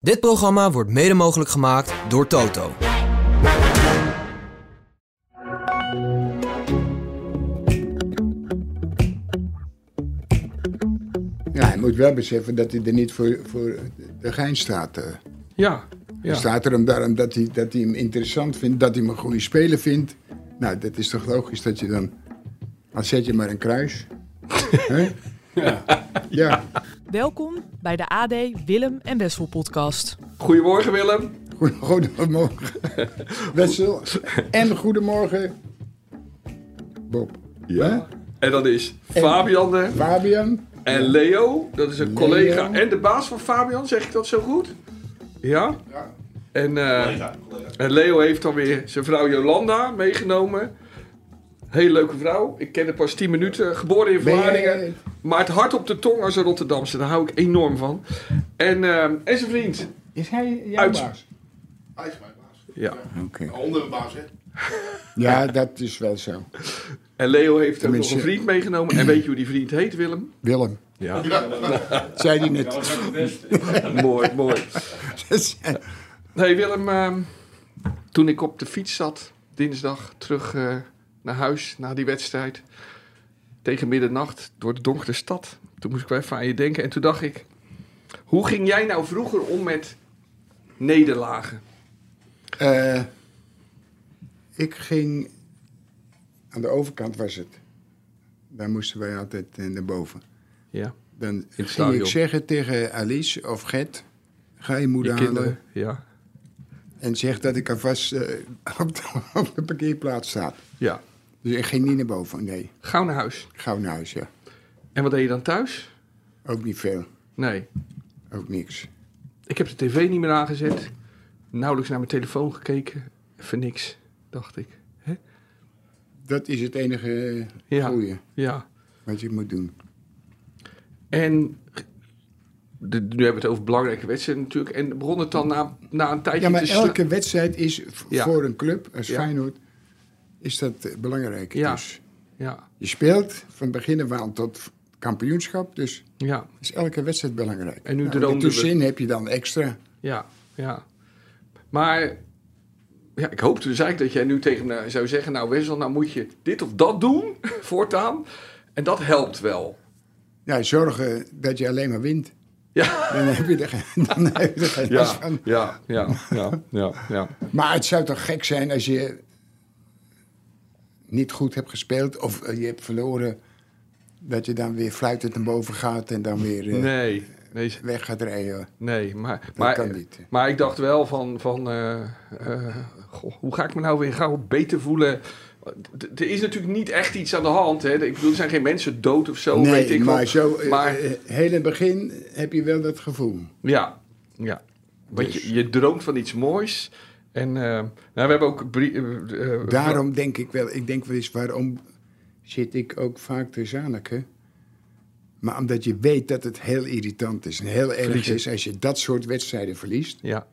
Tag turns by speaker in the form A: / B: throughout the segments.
A: Dit programma wordt mede mogelijk gemaakt door Toto.
B: Ja, hij moet wel beseffen dat hij er niet voor, voor de gein staat. eh.
C: Ja,
B: Hij
C: ja.
B: staat er hem daarom dat hij, dat hij hem interessant vindt, dat hij hem een goede speler vindt. Nou, dat is toch logisch dat je dan... Dan zet je maar een kruis. Hè? ja. ja.
D: Welkom bij de AD Willem en Wessel podcast.
C: Goedemorgen Willem.
B: Goe- Goedemorgen, Wessel. En goedemorgen, Bob. Hè?
C: En dat is Fabian er.
B: Fabian.
C: en Leo. Dat is een
B: Leo.
C: collega en de baas van Fabian, zeg ik dat zo goed? Ja? En, eh, en Leo heeft dan weer zijn vrouw Jolanda meegenomen. Hele leuke vrouw. Ik ken haar pas 10 minuten. Geboren in
B: Ben jij-
C: Vlaardingen. Maar het hart op de tong als een Rotterdamse. Daar hou ik enorm van. En, eh, en zijn vriend.
B: Is hij jouw
C: Uit-
B: baas?
E: Hij is mijn baas.
C: Ja.
E: Een andere baas, hè?
B: Ja, dat is wel zo.
C: En Leo heeft ook nog
B: Tenminste-
C: een vriend meegenomen. En weet je hoe die vriend heet, Willem?
B: Willem.
C: Ja.
B: Zei hij net.
C: mooi, mooi. Hey Willem, ehm, toen ik op de fiets zat, dinsdag terug eh, naar huis na die wedstrijd. Tegen middernacht door de donkere stad. Toen moest ik wel even aan je denken. En toen dacht ik, hoe ging jij nou vroeger om met nederlagen?
B: Eh, ik ging... Aan de overkant was het. Daar moesten wij altijd eh, naar boven.
C: Ja,
B: Dan ging
C: stadion.
B: ik zeggen tegen Alice of Gert... Ga je moeder halen.
C: Ja.
B: En zeg dat ik alvast eh, op, de, op de parkeerplaats sta.
C: ja,
B: Dus ik ging niet naar boven. Nee,
C: gauw naar huis.
B: gauw naar huis, ja.
C: En wat deed je dan thuis?
B: Ook niet veel.
C: Nee,
B: Ook niks.
C: ik heb de tv niet meer aangezet. Nauwelijks naar mijn telefoon gekeken. Even niks, dacht ik. Hè?
B: Dat is het enige eh,
C: Ja.
B: goeie
C: Ja.
B: wat je moet doen.
C: En de- nu hebben we het over belangrijke wedstrijden natuurlijk. En begon het dan na, na een tijdje
B: Ja, maar
C: te sla-
B: elke wedstrijd is v-
C: Ja.
B: voor een club, als
C: Ja.
B: Feyenoord, is dat eh, belangrijk.
C: Ja.
B: Dus
C: Ja,
B: je speelt van begin af aan tot kampioenschap, dus
C: ja,
B: is elke wedstrijd belangrijk.
C: En nu
B: nou,
C: droomden we-
B: Tussenin heb je dan extra.
C: ja, ja. Maar ja, ik hoopte dus eigenlijk dat jij nu tegen me zou zeggen... nou Wessel, nou moet je dit of dat doen voortaan. En dat helpt wel.
B: Ja, zorgen dat je alleen maar wint.
C: Ja,
B: Dan heb je er geen, dan heb je er geen last
C: ja,
B: van.
C: ja, ja, ja, ja, ja.
B: Maar het zou toch gek zijn als je niet goed hebt gespeeld of eh, je hebt verloren, dat je dan weer fluitend naar boven gaat en dan weer eh,
C: Nee, nee,
B: weg gaat rijden.
C: Nee, maar, maar,
B: kan niet.
C: maar ik dacht wel van, van eh, eh, goh, hoe ga ik me nou weer gauw beter voelen? D- Er is natuurlijk niet echt iets aan de hand. Hè? Ik bedoel, er zijn geen mensen dood of zo,
B: nee,
C: Oh, weet ik
B: maar
C: wel.
B: zo, eh,
C: Maar-
B: eh, heel in het begin heb je wel dat gevoel.
C: Ja, ja. Want
B: dus.
C: je, je droomt van iets moois. En eh, nou, we hebben ook... brie- eh, eh,
B: Daarom denk ik wel, ik denk wel eens waarom zit ik ook vaak te zaniken. Maar omdat je weet dat het heel irritant is en heel erg
C: Verliezen.
B: is als je dat soort wedstrijden verliest.
C: Ja,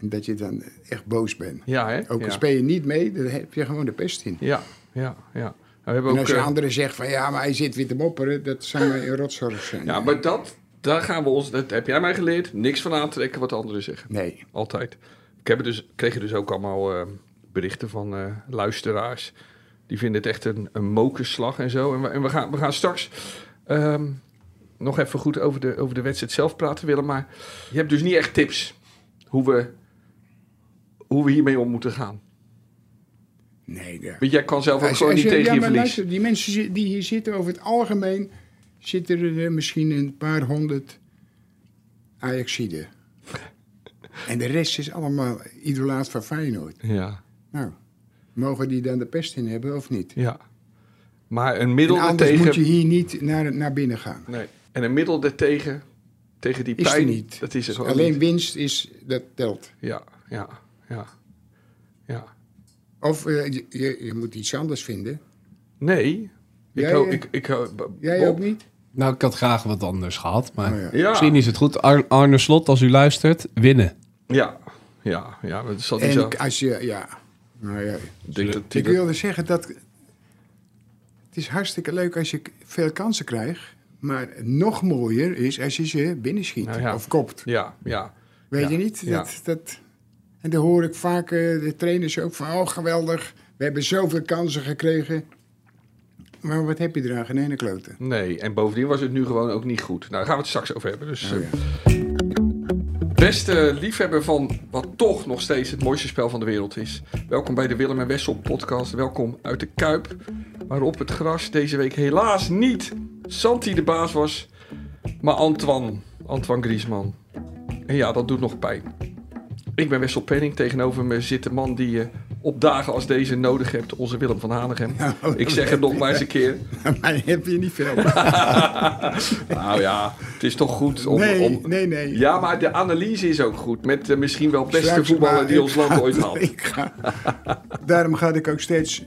B: En dat je dan echt boos bent.
C: ja, hè?
B: Ook al
C: ja.
B: speel je niet mee, dan heb je gewoon de pest in.
C: ja, ja, ja. Nou, we
B: En
C: hebben ook,
B: als je
C: eh,
B: anderen zegt van ja, maar hij zit weer te mopperen, dat zou mij een rotzorg zijn.
C: ja, maar dat, daar gaan we ons... Dat heb jij mij geleerd. Niks van aantrekken wat anderen zeggen.
B: Nee,
C: Altijd. Ik heb er dus, kreeg er dus ook allemaal eh, berichten van eh, luisteraars. Die vinden het echt een, een mokerslag en zo. En we, en we, gaan, we gaan straks ehm, nog even goed over de, over de wedstrijd zelf praten, Willem. Maar je hebt dus niet echt tips hoe we, hoe we hiermee om moeten gaan.
B: nee. ja.
C: Want jij kan zelf ook
B: Als-
C: gewoon
B: als
C: niet
B: je- ja,
C: tegen je
B: maar
C: verlies.
B: luister, die mensen zi- die hier zitten, over het algemeen zitten er eh, misschien een paar honderd Ajaxiden. en de rest is allemaal idolaat van Feyenoord.
C: Ja,
B: Nou, mogen die dan de pest in hebben of niet?
C: ja. Maar een
B: En
C: middel
B: anders
C: tegen...
B: moet je hier niet naar, naar binnen gaan.
C: Nee. En een middel tegen, tegen die
B: Is er
C: pijn...
B: niet.
C: Dat is er gewoon
B: Alleen
C: niet.
B: winst is, dat telt.
C: Ja, ja, ja. Ja.
B: Of eh, je, je, je moet iets anders vinden.
C: Nee. Ik
B: Jij,
C: hou,
B: eh,
C: ik, ik hou, b-
B: Jij
C: Bob?
B: ook niet?
F: Nou, ik had graag wat anders gehad, maar
B: Oh ja.
C: Ja.
F: misschien is het goed. Ar- Arne Slot, als u luistert, winnen.
C: Ja, ja, ja. Maar dat zat niet zo.
B: En als je, ja. Nou ja.
C: Ik denk dat die-
B: Ik wilde zeggen dat. Het is hartstikke leuk als je k- veel kansen krijgt. Maar nog mooier is als je ze binnenschiet
C: Nou ja.
B: of kopt.
C: Ja, ja.
B: Weet
C: Ja,
B: je niet?
C: ja.
B: Dat, dat, en dan hoor ik vaak eh, de trainers ook van, oh geweldig, we hebben zoveel kansen gekregen. Maar wat heb je eraan? Geen ene klote.
C: Nee, en bovendien was het nu gewoon ook niet goed. Nou, daar gaan we het straks over hebben. Dus,
B: Nou
C: eh, Beste liefhebber van wat toch nog steeds het mooiste spel van de wereld is. Welkom bij de Willem en Wessel podcast. Welkom uit de Kuip. Waarop het gras deze week helaas niet Santi de baas was, maar Antoine. Antoine Griezmann. En ja, dat doet nog pijn. Ik ben Wessel Penning. Tegenover me zit de man die je op dagen als deze nodig hebt. Onze Willem van Hanegem. Ik zeg het nog maar eens een keer.
B: Maar heb je niet veel.
C: Nou ja, het is toch goed om...
B: Nee,
C: om-
B: nee, nee.
C: Ja, maar de analyse is ook goed. Met eh, misschien wel beste
B: Straks,
C: voetballer
B: maar
C: die
B: ik
C: ons land
B: ga-
C: ooit had.
B: ik ga- daarom ga ik ook steeds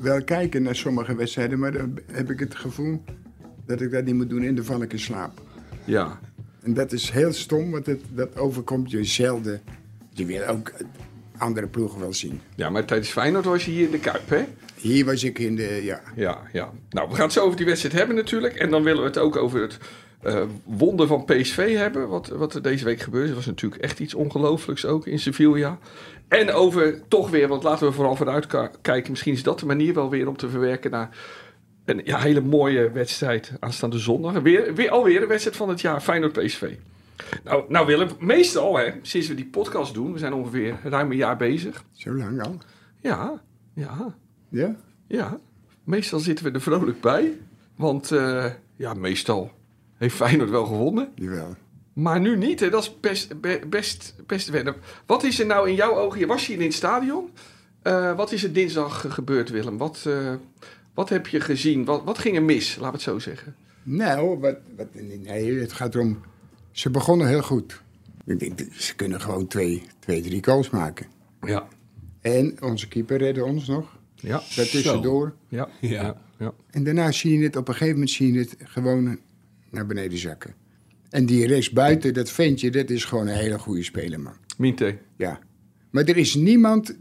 B: wel kijken naar sommige wedstrijden, maar dan heb ik het gevoel dat ik dat niet moet doen en dan val ik in slaap.
C: Ja,
B: En dat is heel stom, want het, dat overkomt je zelden. Je wil ook andere ploegen wel zien.
C: ja maar tijdens Feyenoord was je hier in de Kuip, hè?
B: Hier was ik in de, ja,
C: Ja, ja. Nou, we gaan het zo over die wedstrijd hebben natuurlijk. En dan willen we het ook over het eh, wonder van PSV hebben. Wat, wat er deze week gebeurde. Het was natuurlijk echt iets ongelooflijks ook in Sevilla. En over toch weer, want laten we vooral vooruit ka- kijken. Misschien is dat de manier wel weer om te verwerken naar een ja, hele mooie wedstrijd aanstaande zondag. Weer, weer, alweer een wedstrijd van het jaar. Feyenoord PSV. Nou, nou Willem, meestal hè, sinds we die podcast doen. We zijn ongeveer ruim een jaar bezig.
B: zo lang al.
C: Ja, ja.
B: Ja?
C: Ja, meestal zitten we er vrolijk bij. Want eh, ja, meestal heeft Feyenoord wel gewonnen.
B: Jawel.
C: Maar nu niet, hè. dat is best, be- best, best wennen. Wat is er nou in jouw ogen? Je was hier in het stadion. Eh, wat is er dinsdag gebeurd, Willem? Wat, eh, wat heb je gezien? Wat, wat ging er mis, laat het zo zeggen?
B: Nou, wat, wat, nee, het gaat erom. Ze begonnen heel goed. Ik denk, ze kunnen gewoon twee, twee drie goals maken.
C: Ja,
B: En onze keeper redde ons nog.
C: ja,
B: Daartussendoor.
C: ja,
F: Ja.
C: ja.
B: En daarna zie je het, op een gegeven moment zie je het gewoon naar beneden zakken. En die rechts buiten, dat ventje, dat is gewoon een hele goede speler, man.
C: Minte.
B: Ja. Maar er is niemand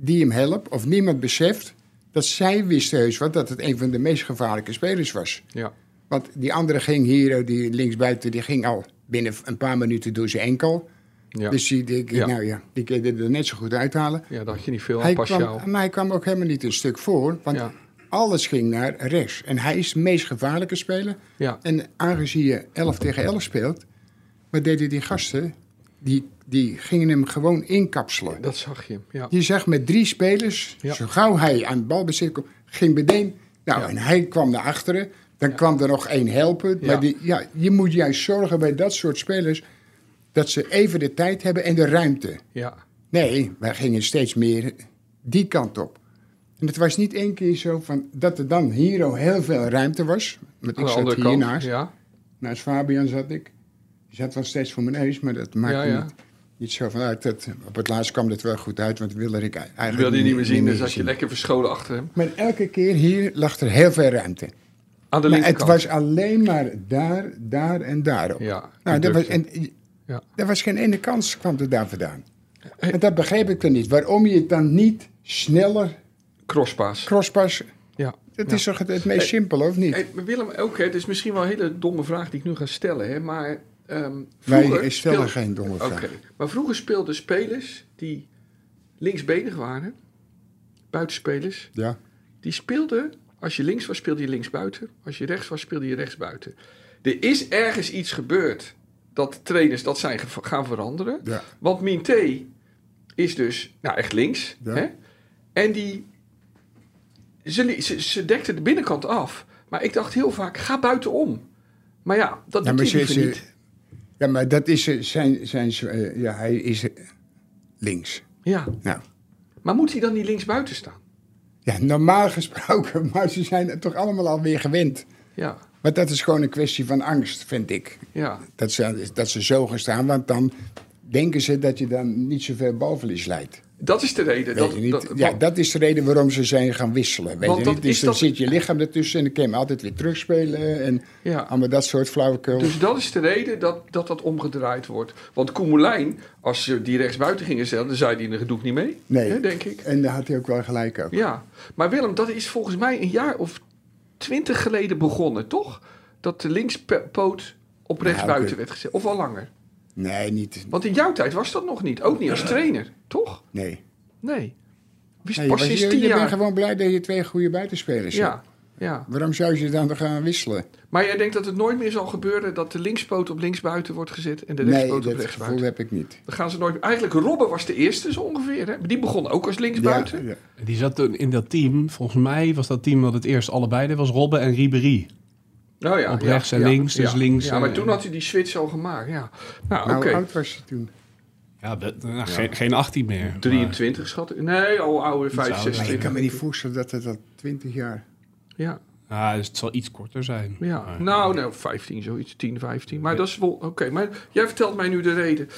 B: die hem helpt of niemand beseft dat zij wist heus wat dat het een van de meest gevaarlijke spelers was.
C: Ja,
B: Want die andere ging hier, oh, die linksbuiten, die ging al binnen een paar minuten door zijn enkel.
C: ja.
B: Dus die, die,
C: Ja.
B: Nou ja, die kun je er net zo goed uithalen.
C: ja daar had je niet veel
B: Hij
C: aan, Pascal.
B: kwam, maar hij kwam ook helemaal niet een stuk voor, want
C: Ja.
B: alles ging naar rechts. En hij is de meest gevaarlijke speler.
C: Ja,
B: En aangezien je 11 tegen 11 speelt, wat deden die gasten? Die, die gingen hem gewoon inkapselen.
C: dat zag je. Ja,
B: Je zag met drie spelers,
C: Ja.
B: zo gauw hij aan het balbezit kwam, ging meteen. Nou, en hij kwam naar achteren. Dan kwam er nog één helpen.
C: Ja.
B: Maar die, ja, je moet juist zorgen bij dat soort spelers dat ze even de tijd hebben en de ruimte.
C: ja,
B: Nee, wij gingen steeds meer die kant op. En het was niet één keer zo van, dat er dan hier al heel veel ruimte was. Want
C: aan
B: ik
C: de
B: zat
C: andere kant.
B: hiernaast.
C: Ja,
B: Naast Fabian zat ik. Die zat wel steeds voor mijn neus, maar dat maakte
C: Ja, ja.
B: Niet, niet zo van uit. Dat, op het laatst kwam dat wel goed uit, want wilde ik eigenlijk
C: dat wilde je niet meer zien, dus had je lekker verscholen achter hem.
B: Maar elke keer hier lag er heel veel ruimte.
C: Aan de
B: Maar het
C: linkerkant.
B: was alleen maar daar, daar en daarop.
C: Ja,
B: nou,
C: die
B: dat was,
C: drukte.
B: en,
C: Ja.
B: er was geen ene kans kwam er daar vandaan.
C: Hey.
B: En dat begreep ik dan niet. Waarom je het dan niet sneller
C: Crosspaas.
B: crosspas...
C: Ja.
B: Dat
C: Ja.
B: is toch het, het meest
C: Hey.
B: simpele, of niet?
C: Hey, Willem, ook, hè, het is misschien wel een hele domme vraag die ik nu ga stellen, hè, maar ehm
B: Wij stellen
C: speelde-
B: geen domme vraag.
C: Oké, maar vroeger speelden spelers die linksbenig waren, buitenspelers,
B: Ja.
C: die speelden, als je links was speelde je linksbuiten, als je rechts was speelde je rechtsbuiten. Er is ergens iets gebeurd dat trainers dat zijn geva- gaan veranderen,
B: Ja.
C: want Minté is dus nou, echt links,
B: Ja.
C: hè, en die ze, li- ze, ze dekte de binnenkant af. Maar ik dacht heel vaak, ga buitenom. Maar ja, dat
B: Ja, maar,
C: doet hij
B: ze,
C: liever
B: ze-
C: niet.
B: ja, maar dat is eh, zijn... zijn eh, ja, hij is eh, links.
C: Ja,
B: Nou,
C: maar moet hij dan niet links buiten staan?
B: ja, normaal gesproken, maar ze zijn het toch allemaal alweer gewend.
C: Ja,
B: Maar dat is gewoon een kwestie van angst, vind ik.
C: ja,
B: Dat ze, dat ze zo gaan staan, want dan denken ze dat je dan niet zoveel balverlies leidt.
C: dat is de reden.
B: Weet
C: dat,
B: je niet?
C: dat-
B: ja,
C: want-
B: dat is de reden waarom ze zijn gaan wisselen. Weet
C: Want
B: je
C: dat
B: niet?
C: is
B: Dus dan
C: dat-
B: zit je lichaam ertussen en dan kan je hem altijd weer terugspelen. En
C: Ja.
B: allemaal dat soort flauwekul.
C: Dus dat is de reden dat dat, dat omgedraaid wordt. Want Koemelijn, als ze die rechts buiten gingen stellen, dan zei hij, dat doe ik niet mee.
B: nee.
C: Hè, denk ik.
B: En daar had hij ook wel gelijk over.
C: Ja, maar Willem, dat is volgens mij een jaar of twintig geleden begonnen, toch? dat de linkspoot op rechts buiten
B: oké.
C: werd gezet? Of al langer?
B: Nee, niet.
C: Want in jouw tijd was dat nog niet. Ook niet als trainer, toch?
B: Nee.
C: Nee. Wist
B: nee je
C: pas
B: was-
C: sinds
B: je,
C: tien
B: je bent
C: jaar.
B: gewoon blij dat je twee goede buitenspelers hebt.
C: Ja, ja.
B: Waarom zou je dan gaan wisselen?
C: Maar jij denkt dat het nooit meer zal gebeuren dat de linkspoot op linksbuiten wordt gezet en de
B: Nee,
C: rechtspoot op
B: dat gevoel
C: rechtsbuiten?
B: heb ik niet.
C: Dan gaan ze nooit. Eigenlijk Robben was de eerste zo ongeveer. Hè? Die begon ook als linksbuiten.
B: Ja,
F: Die zat toen in dat team. Volgens mij was dat team dat het eerst allebei deed. Was Robben en Ribéry.
C: Nou ja,
F: Op rechts en links, dus links
C: Ja, maar
F: en-
C: toen had hij die switch al gemaakt. Ja. Nou,
B: Nou,
C: oké.
B: hoe oud was je toen?
F: Ja, dat- nou, Geen, geen 18 meer. maar-
C: 23 schat. ik. Nee, oh, al ouder, 5,
F: ouder.
B: Maar
C: 6.
B: ik kan me niet voorstellen dat het al 20 jaar.
C: Ja,
F: Ja, dus het zal iets korter zijn.
C: ja. Nou, nou, 15 zoiets. 10, 15. Maar dat is wel... Oké, maar jij vertelt mij nu de reden.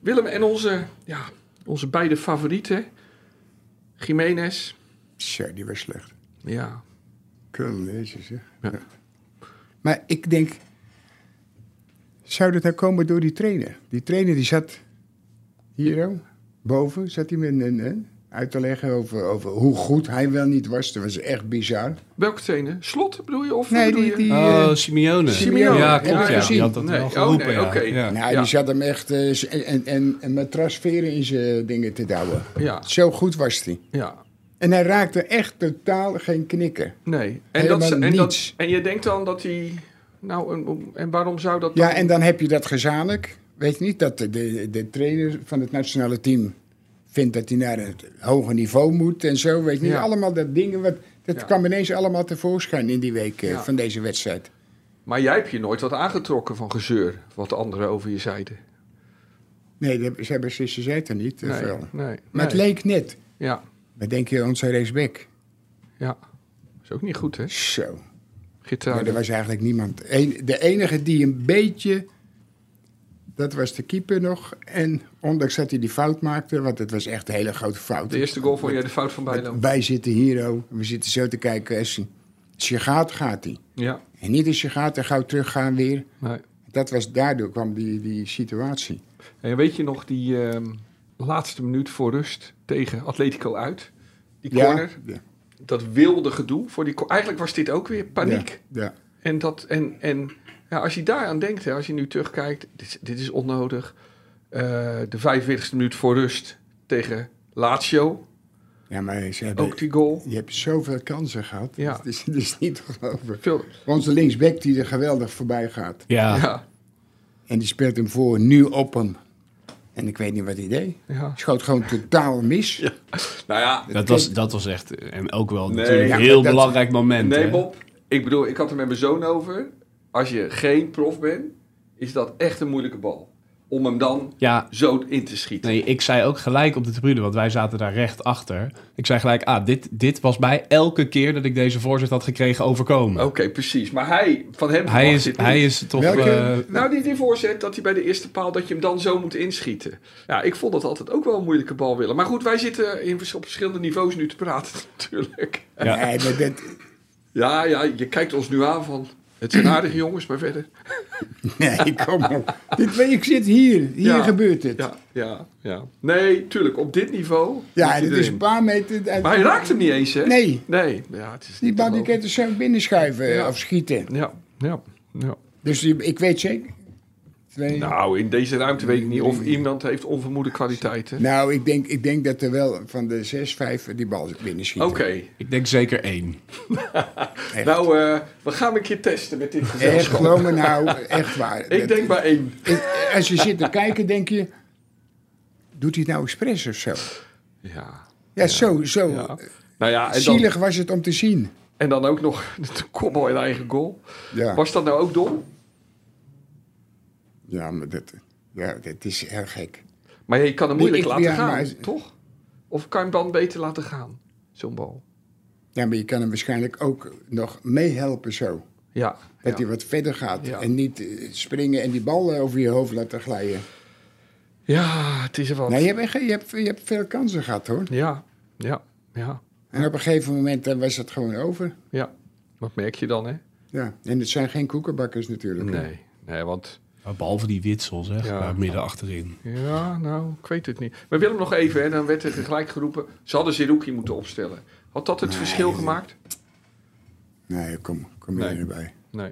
C: Willem en onze, ja, onze beide favorieten. Jiménez.
B: Tja, die was slecht.
C: Ja.
B: Kunnen lezen, zeg.
C: Ja.
B: Ja. Maar ik denk, zou dat nou komen door die trainer? Die trainer die zat hier, oh, boven, zat hij met een, een- uit te leggen over, over hoe goed hij wel niet was. Dat was echt bizar.
C: Welke trainer? Slot bedoel je? Of
B: Nee,
C: bedoel
B: die,
C: je-
B: die, eh,
F: Oh, Simeone.
C: Simeone.
F: Ja,
B: Heb
F: klopt.
B: je
F: Ja.
B: gezien?
F: Die had dat
C: Nee.
F: wel
C: Oh,
F: geroepen.
C: nee,
F: ja.
C: oké.
F: Ja.
B: nou,
C: ja.
B: die zat hem echt eh, z- en, en, en, en met transferen in zijn dingen te douwen.
C: Ja,
B: Zo goed was hij.
C: ja.
B: En hij raakte echt totaal geen knikken.
C: Nee. En, dat, ze-
B: Helemaal
C: en, dat,
B: niets.
C: en je denkt dan dat hij... Nou, en, en waarom zou dat
B: Ja,
C: dan-
B: en dan heb je dat gezamenlijk. Weet je niet dat de, de, de trainer van het nationale team vindt dat hij naar het hoger niveau moet en zo. Weet je niet,
C: Ja.
B: allemaal dat dingen. Wat, dat
C: Ja.
B: kwam ineens allemaal tevoorschijn in die week eh,
C: Ja.
B: van deze wedstrijd.
C: Maar jij hebt je nooit wat aangetrokken van gezeur, wat anderen over je zeiden.
B: Nee, dat- ze hebben ze ze zei het er niet. te
C: Nee,
B: veel.
C: nee,
B: Maar
C: nee.
B: het leek net.
C: Ja,
B: Maar denk je, onze rechtsback.
C: ja. Is ook niet goed, hè?
B: Zo.
C: Gitaar.
B: Maar er was eigenlijk niemand. Eén- de enige die een beetje. Dat was de keeper nog. En ondanks dat hij die fout maakte, want het was echt een hele grote fout.
C: De eerste goal vond jij de fout van Bijlo.
B: Wij zitten hier, oh. we zitten zo te kijken. Als hij, als je gaat, gaat hij.
C: Ja,
B: En niet als je gaat en gauw teruggaan weer.
C: nee.
B: Dat was, daardoor kwam die, die situatie.
C: En weet je nog die ehm, laatste minuut voor rust tegen Atletico uit? Die corner,
B: Ja,
C: dat wilde gedoe. Voor die, cor- eigenlijk was dit ook weer paniek.
B: Ja, ja.
C: En, dat, en, en ja, als je daaraan denkt, hè, als je nu terugkijkt, dit, is- dit is onnodig. Eh, de 45e minuut voor rust tegen Lazio,
B: Ja, maar ze hebben,
C: ook die goal.
B: je hebt zoveel kansen gehad.
C: Ja.
B: Het is, het is niet te geloven.
C: Veel,
B: Onze linksback die er geweldig voorbij gaat.
F: Ja.
C: ja,
B: En die speelt hem voor, nu op hem. En ik weet niet wat hij deed.
C: ja.
B: Schoot gewoon totaal mis.
C: Nou ja,
F: Dat, was, dat was echt, eh, en ook wel
C: Nee,
F: natuurlijk
B: ja,
F: een heel
B: maar dat-
F: belangrijk moment.
C: nee
F: hè?
C: Bob, ik bedoel, ik had er met mijn zoon over. Als je geen prof bent, is dat echt een moeilijke bal. Om hem dan
F: Ja,
C: zo in te schieten.
F: nee, ik zei ook gelijk op de tribune, want wij zaten daar recht achter. Ik zei gelijk, ah, dit, dit was mij elke keer dat ik deze voorzet had gekregen overkomen.
C: Oké, precies. Maar hij, van hem
F: Hij
C: verwacht
F: is,
C: dit
F: hij
C: Oh, niet.
F: is toch...
B: Welke?
F: eh,
C: Nou, die, die voorzet, dat hij bij de eerste paal, dat je hem dan zo moet inschieten. Ja, ik vond dat altijd ook wel een moeilijke bal willen. Maar goed, wij zitten in, vers- op verschillende niveaus nu te praten natuurlijk.
F: Ja.
B: Nee, maar dat,
C: Ja, ja, je kijkt ons nu aan van, het zijn aardige jongens, maar verder.
B: nee kom op. Dit, ik zit hier. Hier
C: Ja.
B: gebeurt het.
C: Ja, ja, ja. Nee, tuurlijk, op dit niveau. moet
B: Ja,
C: je
B: dit is
C: erin.
B: een paar meter. uit-
C: Maar hij raakt hem niet eens, hè?
B: Nee.
C: Nee, ja, het is
B: Die
C: niet
B: bal
C: te
B: die kan je
C: geloven.
B: toch zo binnenschuiven eh,
C: Ja.
B: of schieten.
C: Ja, ja, ja.
B: Dus die- ik weet zeker. Twee. Nou.
C: Nou, in deze ruimte weet ik niet of iemand heeft onvermoede kwaliteiten.
B: Nou, ik denk, ik denk dat er wel van de zes, vijf die bal binnenschieten.
C: Oké,
F: ik denk zeker één.
B: Echt.
C: nou, eh, we gaan een keer testen met dit
B: Echt,
C: gezelschap.
B: geloof me nou, echt waar.
C: Ik
B: Dat-
C: denk bij één.
B: ik- als je zit te kijken, denk je... Doet hij het nou expres of zo?
C: Ja.
B: Ja, zo, zo.
C: ja. Nou ja, en dan,
B: Zielig was het om te zien.
C: en dan ook nog de kopbal in eigen goal.
B: Ja,
C: Was dat nou ook dom?
B: ja maar dat, ja, dat is heel gek.
C: Maar je kan hem moeilijk
B: Nee, ik-
C: laten
B: ja,
C: gaan,
B: maar-
C: toch? Of kan je hem dan beter laten gaan, zo'n bal?
B: Ja, maar je kan hem waarschijnlijk ook nog meehelpen zo.
C: Ja.
B: Dat
C: ja.
B: hij wat verder gaat.
C: Ja.
B: En niet eh, springen en die bal eh, over je hoofd laten glijden.
C: ja, het is er wat.
B: Nee, je hebt, echt- je, hebt, je hebt veel kansen gehad hoor.
C: Ja, ja, ja,
B: En op een gegeven moment eh, was het gewoon over.
C: ja. Wat merk je dan, hè?
B: Ja. En het zijn geen koekenbakkers natuurlijk.
C: Nee, nee, want...
F: Maar Behalve die witsel, zeg,
C: Ja.
F: daar midden achterin.
C: Ja, nou, ik weet het niet. Maar Willem nog even, hè, dan werd er gelijk geroepen... ze hadden Zerouki moeten opstellen. Had dat het verschil gemaakt?
B: Nee, kom, kom
C: Nee.
B: je erbij.
C: Nee.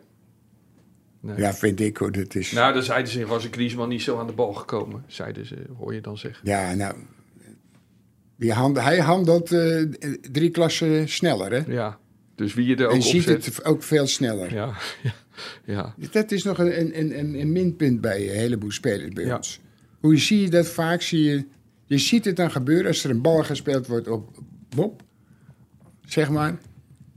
C: Nee.
B: Ja, vind ik hoor. Dat is,
C: Nou, dan zeiden ze, was Griezmann niet zo aan de bal gekomen, zeiden ze, hoor je dan zeggen.
B: Ja, nou. Die hand, hij handelt eh, drie klassen sneller, hè?
C: Ja, dus wie je er ook
B: En
C: op
B: ziet
C: zet.
B: het ook veel sneller.
C: Ja, ja, ja.
B: Dus Dat is nog een, een, een, een minpunt bij een heleboel spelers bij
C: Ja.
B: ons. Hoe zie je dat vaak? Zie je, je ziet het dan gebeuren als er een bal gespeeld wordt op Bob, zeg maar.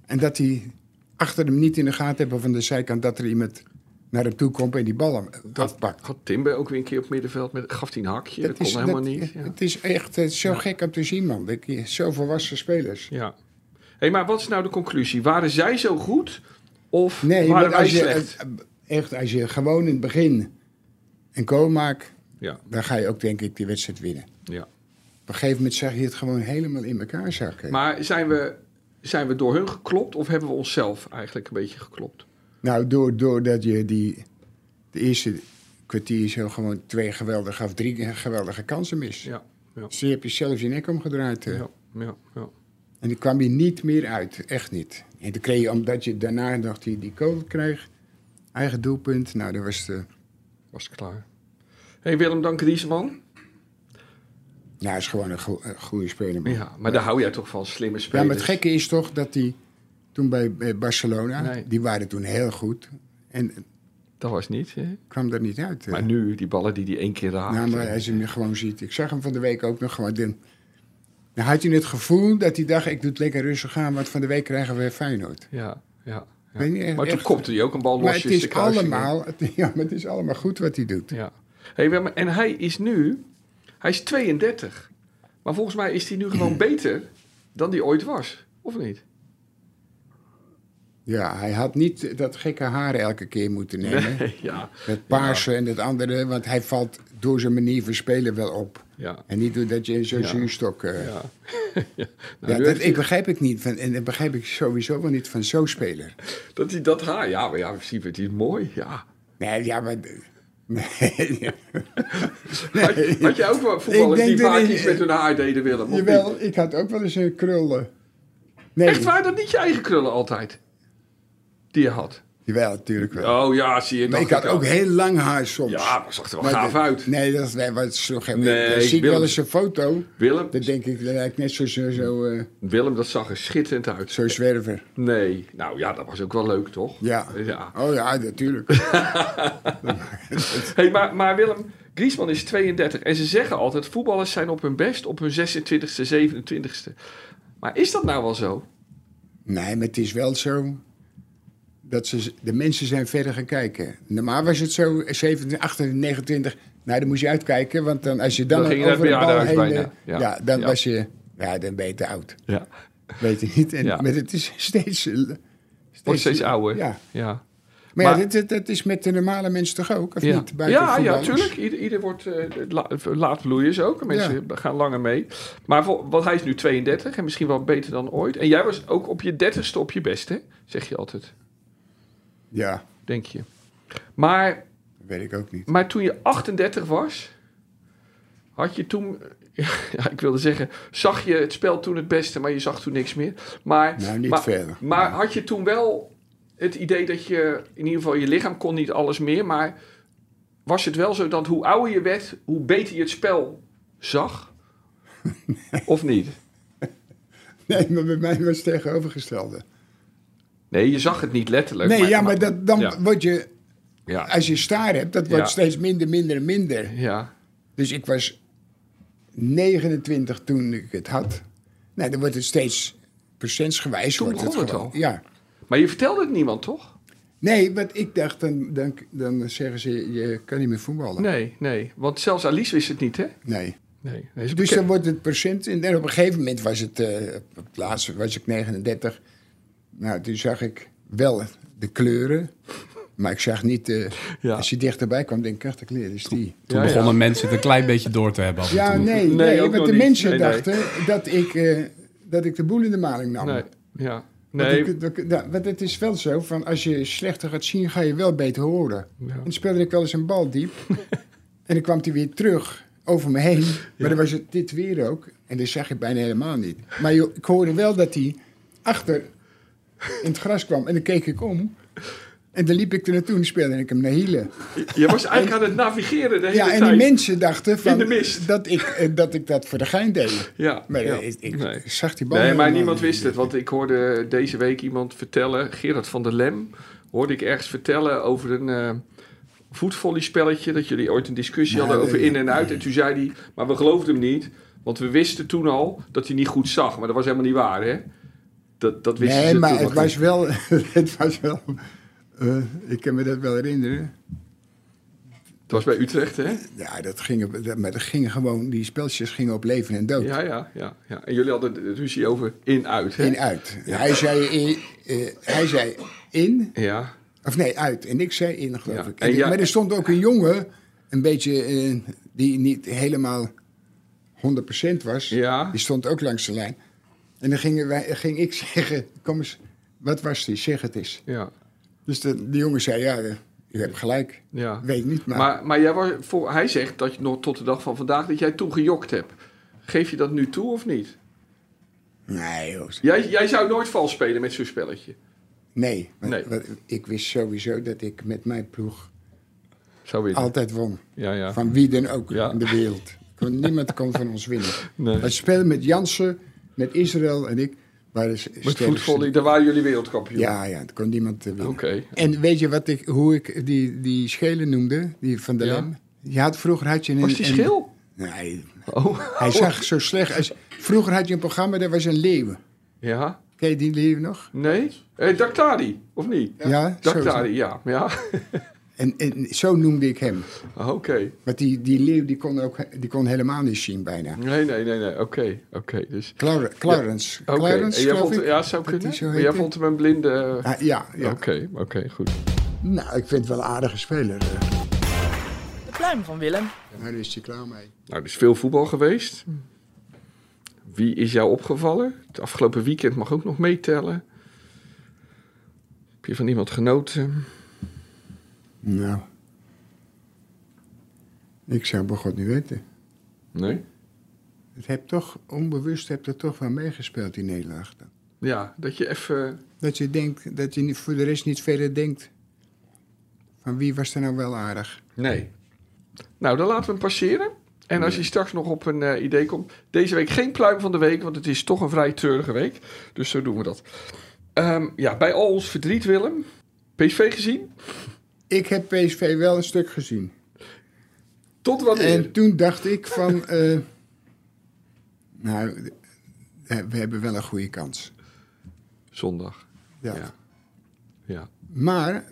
B: En dat hij achter hem niet in de gaten hebben van de zijkant dat er iemand naar hem toe komt en die bal hem afpakt.
C: Had Timber ook weer een keer op middenveld, met, gaf hij een hakje, dat, kon helemaal niet. Ja.
B: Het is echt eh, zo gek om te zien, man. Ik- Zo volwassen spelers.
C: ja. hey, maar wat is nou de conclusie? Waren zij zo goed of
B: Nee,
C: waren
B: want
C: wij
B: als je,
C: slecht?
B: eh, echt, als je gewoon in het begin een goal maakt,
C: Ja,
B: dan ga je ook denk ik die wedstrijd winnen.
C: ja.
B: Op een gegeven moment zag je het gewoon helemaal in elkaar zakken.
C: Maar zijn we, zijn we door hun geklopt of hebben we onszelf eigenlijk een beetje geklopt?
B: Nou, door- doordat je die, de eerste kwartier zo gewoon twee geweldige of drie geweldige kansen mist.
C: Ja, ja,
B: Dus je hebt jezelf je nek omgedraaid. eh.
C: ja, ja. ja.
B: En die kwam je niet meer uit, echt niet. En dan kreeg je, omdat je daarna nog die, die goal kreeg, eigen doelpunt. Nou, dat was de,
C: Was het klaar. hey, Willem, dank Riesman.
B: nou, is gewoon een, go- een goede speler. man.
C: Ja, maar daar hou jij toch van, slimme spelers.
B: Ja, maar het gekke is toch dat die toen bij bij Barcelona,
C: Nee.
B: die waren toen heel goed. En het
C: Dat was niet, hè?
B: kwam er niet uit. eh.
C: Maar nu, die ballen die die één keer raakt.
B: Nou, maar als je hem gewoon ziet. Ik zag hem van de week ook nog gewoon. Dan dan had hij het gevoel dat hij dacht, ik doe het lekker rustig aan, want van de week krijgen we Feyenoord.
C: Ja, ja. ja.
B: Weet je, echt-
C: maar toen
B: echt-
C: kopte hij ook een bal
B: Maar
C: losjes
B: het
C: de
B: is,
C: kruising in.
B: allemaal, het- ja, maar het is allemaal goed wat hij doet.
C: Ja. Hey, Willem, en hij is nu... Hij is 32. Maar volgens mij is hij nu gewoon beter dan die ooit was. Of niet?
B: Ja, hij had niet dat gekke haar elke keer moeten nemen.
C: ja. nou,
B: Dat paarse en dat andere, want hij valt door zijn manier van spelen wel op.
C: Ja.
B: En niet doordat je zo'n
C: Ja.
B: zuurstok... eh,
C: Ja. ja. Nou,
B: Ja, dat,
C: nu heeft hij-
B: ik begrijp het niet. Van, en dat begrijp ik sowieso wel niet van zo'n speler.
C: dat hij dat haar... Ja, maar ja, in principe, het is mooi. Ja.
B: Nee, ja, maar... Nee, ja.
C: Had,
B: Nee.
C: had jij ook wel voetballers
B: Ik denk
C: die
B: dat
C: vaak
B: ik-
C: iets met hun haar deden, Willem? of niet?
B: Jawel, ik had ook wel eens een krullen. Nee,
C: Echt waar, dat niet je eigen krullen altijd? Die je had.
B: Jawel, natuurlijk wel.
C: Oh ja, zie je.
B: maar
C: dacht
B: ik had
C: al.
B: ook heel lang haar soms.
C: Ja, maar zag er wel
B: Maar
C: gaaf
B: dat-
C: uit.
B: Nee, dat nee, wat zo geen...
C: Nee,
B: dan zie ik
C: Willem-
B: wel eens een foto.
C: Willem,
B: Dan denk ik, dat lijkt net zo, zo, zo, eh,
C: Willem, dat zag er schitterend uit.
B: zo zwerver.
C: Nee, nou ja, dat was ook wel leuk, toch?
B: Ja.
C: ja.
B: Oh ja, natuurlijk.
C: Hey, maar, maar Willem, Griezmann is 32 en ze zeggen altijd... voetballers zijn op hun best op hun 26e, 27e. Maar is dat nou wel zo?
B: nee, maar het is wel zo... Dat ze, de mensen zijn verder gaan kijken. Normaal was het zo, eh, 27, 28, 29... Nou, dan moest je uitkijken, want dan, als je dan,
C: Dan ging je
B: over de
C: naar het
B: bal heen...
C: bejaardenhuis
B: eh,
C: bijna.
B: Ja,
C: Ja.
B: dan
C: Ja.
B: was je... Ja, dan ben je te oud.
C: Ja.
B: Weet je niet. En,
C: Ja.
B: Maar het is steeds... eh, steeds
C: Wordt steeds ouder.
B: Ja.
C: Ja,
B: Maar,
C: Maar-
B: ja, dat, dat- dat is met de normale mensen toch ook, of
C: ja.
B: niet?
C: ja,
B: Buiten
C: ja,
B: voetballers.
C: tuurlijk. Ieder, ieder wordt eh, la- laat bloeiers ook. Mensen gaan langer mee. Maar voor, want hij is nu 32 en misschien wel beter dan ooit. En jij was ook op je 30ste op je best, hè? Zeg je altijd,
B: Ja,
C: denk je. Maar
B: dat weet ik ook niet.
C: Maar toen je 38 was, had je toen. Ja, ik wilde zeggen, zag je het spel toen het beste, maar je zag toen niks meer. Maar,
B: Nou, niet
C: maar,
B: verder.
C: Maar had je toen wel het idee dat je, in ieder geval je lichaam kon niet alles meer, maar was het wel zo dat hoe ouder je werd, hoe beter je het spel zag? Of niet?
B: Nee, maar bij mij was het tegenovergestelde.
C: Nee, je zag het niet letterlijk.
B: nee, ja, maar dat, dan
C: ja.
B: word je...
C: Ja,
B: Als je staar hebt, dat wordt
C: Ja.
B: steeds minder, minder en minder.
C: ja,
B: Dus ik was 29 toen ik het had. Nee, dan wordt het steeds procentsgewijs.
C: Toen
B: wordt
C: begon het
B: gewoon-
C: al.
B: Ja.
C: Maar je vertelde het niemand, toch?
B: Nee, want ik dacht, dan, dan, dan zeggen ze, je kan niet meer voetballen.
C: Nee, nee. Want zelfs Alice wist het niet, hè?
B: nee.
C: Nee. nee ze
B: Dus dan wordt het procent. En dan op een gegeven moment was het. eh, op het laatste was ik 39. Nou, toen zag ik wel de kleuren. Maar ik zag niet. eh,
C: Ja.
B: Als je dichterbij kwam, denk ik, ach, de kleur is die.
F: Toen
C: Ja, ja.
F: begonnen mensen het een klein beetje door te hebben. af en
B: Ja,
F: toe.
B: nee.
C: Nee,
B: nee,
C: ook nog
B: want de
C: niet.
B: mensen
C: Nee, nee.
B: dachten Dat, ik, eh, dat ik de boel in de maling nam.
C: Nee, ja.
B: Want
C: Nee,
B: ik- dat- dat- Want het is wel zo, van als je slechter gaat zien, ga je wel beter horen. En dan speelde ik wel eens een bal diep. en dan kwam hij weer terug over me heen. Maar dan was het dit weer ook. En dat zag je bijna helemaal niet. Maar joh, ik hoorde wel dat hij achter in het gras kwam. En dan keek ik om. En dan liep ik er naartoe en speelde ik hem naar hielen.
C: Je was eigenlijk aan het navigeren de hele
B: Ja,
C: tijd.
B: en die mensen dachten van,
C: In de mist.
B: Dat, ik, eh, dat ik dat voor de gein deed.
C: Ja,
B: Maar
C: ja.
B: eh, ik, ik
C: Nee.
B: zag die bal
C: Nee, maar
B: helemaal
C: niemand
B: niet.
C: wist het. Want ik hoorde deze week iemand vertellen, Gerard van der Lem, hoorde ik ergens vertellen over een eh voetvolleyspelletje. Dat jullie ooit een discussie
B: Ja,
C: hadden over
B: ja,
C: in en uit. En toen zei hij, maar we geloofden hem niet. Want we wisten toen al dat hij niet goed zag. Maar dat was helemaal niet waar, hè? Dat, dat wisten
B: Nee,
C: ze
B: maar
C: toen
B: het
C: nog
B: was,
C: niet.
B: wel, het was wel... eh, ik kan me dat wel herinneren.
C: Het was bij Utrecht, hè?
B: Ja, dat ging, dat, maar dat ging gewoon... Die spelletjes gingen op leven en dood.
C: Ja, ja, ja. ja. En jullie hadden het ruzie over in-uit, hè?
B: In, uit. Hij, zei in, eh, hij zei in...
C: Ja,
B: Of nee, uit. En ik zei in, geloof
C: Ja.
B: ik.
C: En
B: En,
C: ja-
B: maar er stond ook een jongen... Een beetje... eh, die niet helemaal 100% was.
C: ja.
B: Die stond ook langs de lijn. En dan gingen wij, ging ik zeggen, kom eens, wat was die? Zeg het eens.
C: ja.
B: Dus de, die jongen zei, ja, eh, u hebt gelijk.
C: ja.
B: Weet ik niet, maar,
C: Maar, maar jij was, voor, hij zegt dat je nog tot de dag van vandaag dat jij toen gejokt hebt. Geef je dat nu toe of niet?
B: Nee, joh.
C: Jij, jij zou nooit vals spelen met zo'n spelletje.
B: Nee, want-
C: Nee.
B: want ik wist sowieso dat ik met mijn ploeg
C: Zou winnen.
B: altijd won.
C: Ja, ja.
B: Van wie dan ook
C: Ja.
B: in de wereld. Kon, niemand kon van ons winnen.
C: Nee.
B: Het spel met Jansen, met Israël en ik waren s-
C: Met
B: sterkste.
C: voetvolley, daar waren jullie wereldkampioen.
B: Ja, ja, dat kon niemand eh, winnen.
C: Oké.
B: En weet je wat ik, hoe ik die, die schelen noemde, die van de
C: Ja.
B: Lem? Je had vroeger had je een.
C: Was die
B: een-
C: schil?
B: nee,
C: Oh.
B: hij zag zo slecht. Als, vroeger had je een programma, daar was een leeuw.
C: Ja?
B: Ken je die leeuw nog?
C: Nee? Eh, Daktari, of niet?
B: Ja, zo.
C: Daktari, ja. ja.
B: En, en zo noemde ik hem.
C: Oké.
B: Want die, die leeuw die kon, ook, die kon helemaal niet zien bijna.
C: Nee, nee, nee, nee. Oké, oké. Dus,
B: Clar- Clarence.
C: oké.
B: Clarence,
C: En jij
B: geloof
C: vond,
B: ik.
C: ja, zou
B: dat die
C: kunnen.
B: zo
C: Maar jij
B: heette.
C: vond hem een blinde... eh,
B: Ah, ja, ja.
C: Oké, oké, goed.
B: Nou, ik vind het wel een aardige speler. eh.
D: De pluim van Willem.
B: Nou, daar is hij klaar mee.
C: Nou, er is veel voetbal geweest. Wie is jou opgevallen? Het afgelopen weekend mag ook nog meetellen. Heb je van iemand genoten?
B: Nou. Ik zou bij God niet weten.
C: Nee.
B: Het hebt toch, onbewust hebt er toch wel meegespeeld, die nederlaag dan.
C: Ja, dat je even...
B: Dat je denkt, dat je niet- voor de rest niet verder denkt. Van wie was er nou wel aardig?
C: Nee. Nou, dan laten we hem passeren. En als je straks nog op een eh, idee komt... Deze week geen pluim van de week, want het is toch een vrij treurige week. Dus zo doen we dat. Ehm, ja, bij al ons verdriet, Willem. PSV gezien?
B: Ik heb PSV wel een stuk gezien.
C: Tot wanneer?
B: En toen dacht ik van... eh, nou, eh, we hebben wel een goede kans.
C: Zondag.
B: Ja.
C: Ja. Ja.
B: Maar, ik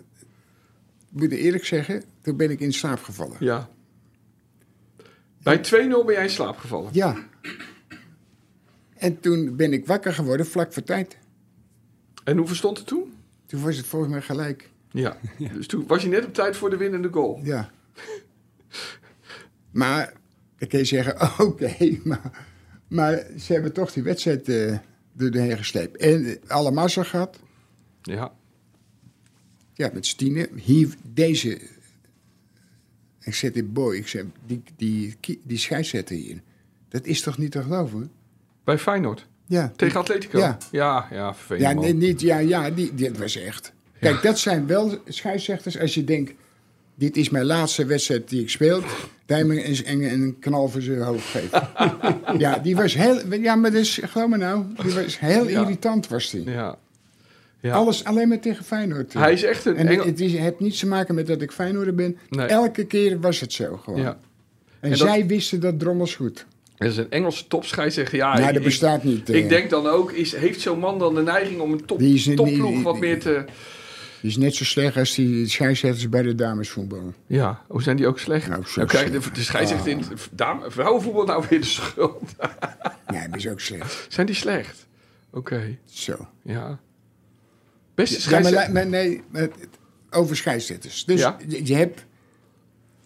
B: moet eerlijk zeggen, toen ben ik in slaap gevallen.
C: Ja. Bij 2-0 ben jij in slaap gevallen.
B: Ja. En toen ben ik wakker geworden, vlak voor tijd.
C: En hoe verstond het toen?
B: Toen was het volgens mij gelijk.
C: Ja. Dus toen was je net op tijd voor de winnende goal.
B: Ja. maar dan kun je zeggen, oké, maar, maar ze hebben toch die wedstrijd eh er doorheen gesleept. En eh, alle massa gehad.
C: Ja.
B: Ja, met Stine. Hier, deze... Ik zet dit boy, ik zeg, die, die, die, die scheidsrechter hier. Dat is toch niet te geloven?
C: Bij Feyenoord.
B: Ja.
C: Tegen Atletico.
B: Ja.
C: Ja, ja vervelend.
B: Ja,
C: man.
B: nee, niet, ja, ja die, dit was echt. Kijk, dat zijn wel scheidsrechters als je denkt... dit is mijn laatste wedstrijd die ik speel. Dijmen en, en, en een knal voor zijn hoofd geven. ja, die was heel... Ja, maar dus, geloof me nou. Die was heel
C: Ja.
B: irritant, was die.
C: Ja. Ja.
B: Alles alleen maar tegen Feyenoord. eh.
C: Hij is echt een
B: en
C: Engel-
B: het is, het heeft niets te maken met dat ik Feyenoorder ben.
C: Nee.
B: Elke keer was het zo gewoon.
C: Ja.
B: En,
C: En dat-
B: zij wisten dat drommels goed.
C: Er is een Engelse topscheidsrechter. Ja,
B: nou,
C: Ah, ik-
B: dat bestaat niet.
C: Ik,
B: eh,
C: ik denk dan ook, is, heeft zo'n man dan de neiging om een top,
B: Die is een- die-
C: topploeg
B: die-
C: wat meer te...
B: Die is net zo slecht als die scheidsrechters bij de damesvoetbal.
C: Ja, hoe zijn die ook slecht?
B: Nou, zo
C: dan krijg je
B: slecht. Ah.
C: de, de scheidsrechter in het dame- vrouwenvoetbal nou weer de schuld.
B: Nee, dat is ook slecht.
C: Zijn die slecht? Oké,
B: Zo.
C: ja.
B: Ja,
C: Beste
B: maar,
C: scheidsrechter.
B: la- maar nee, maar het- over scheidsrechters. Dus
C: Ja.
B: je, je hebt...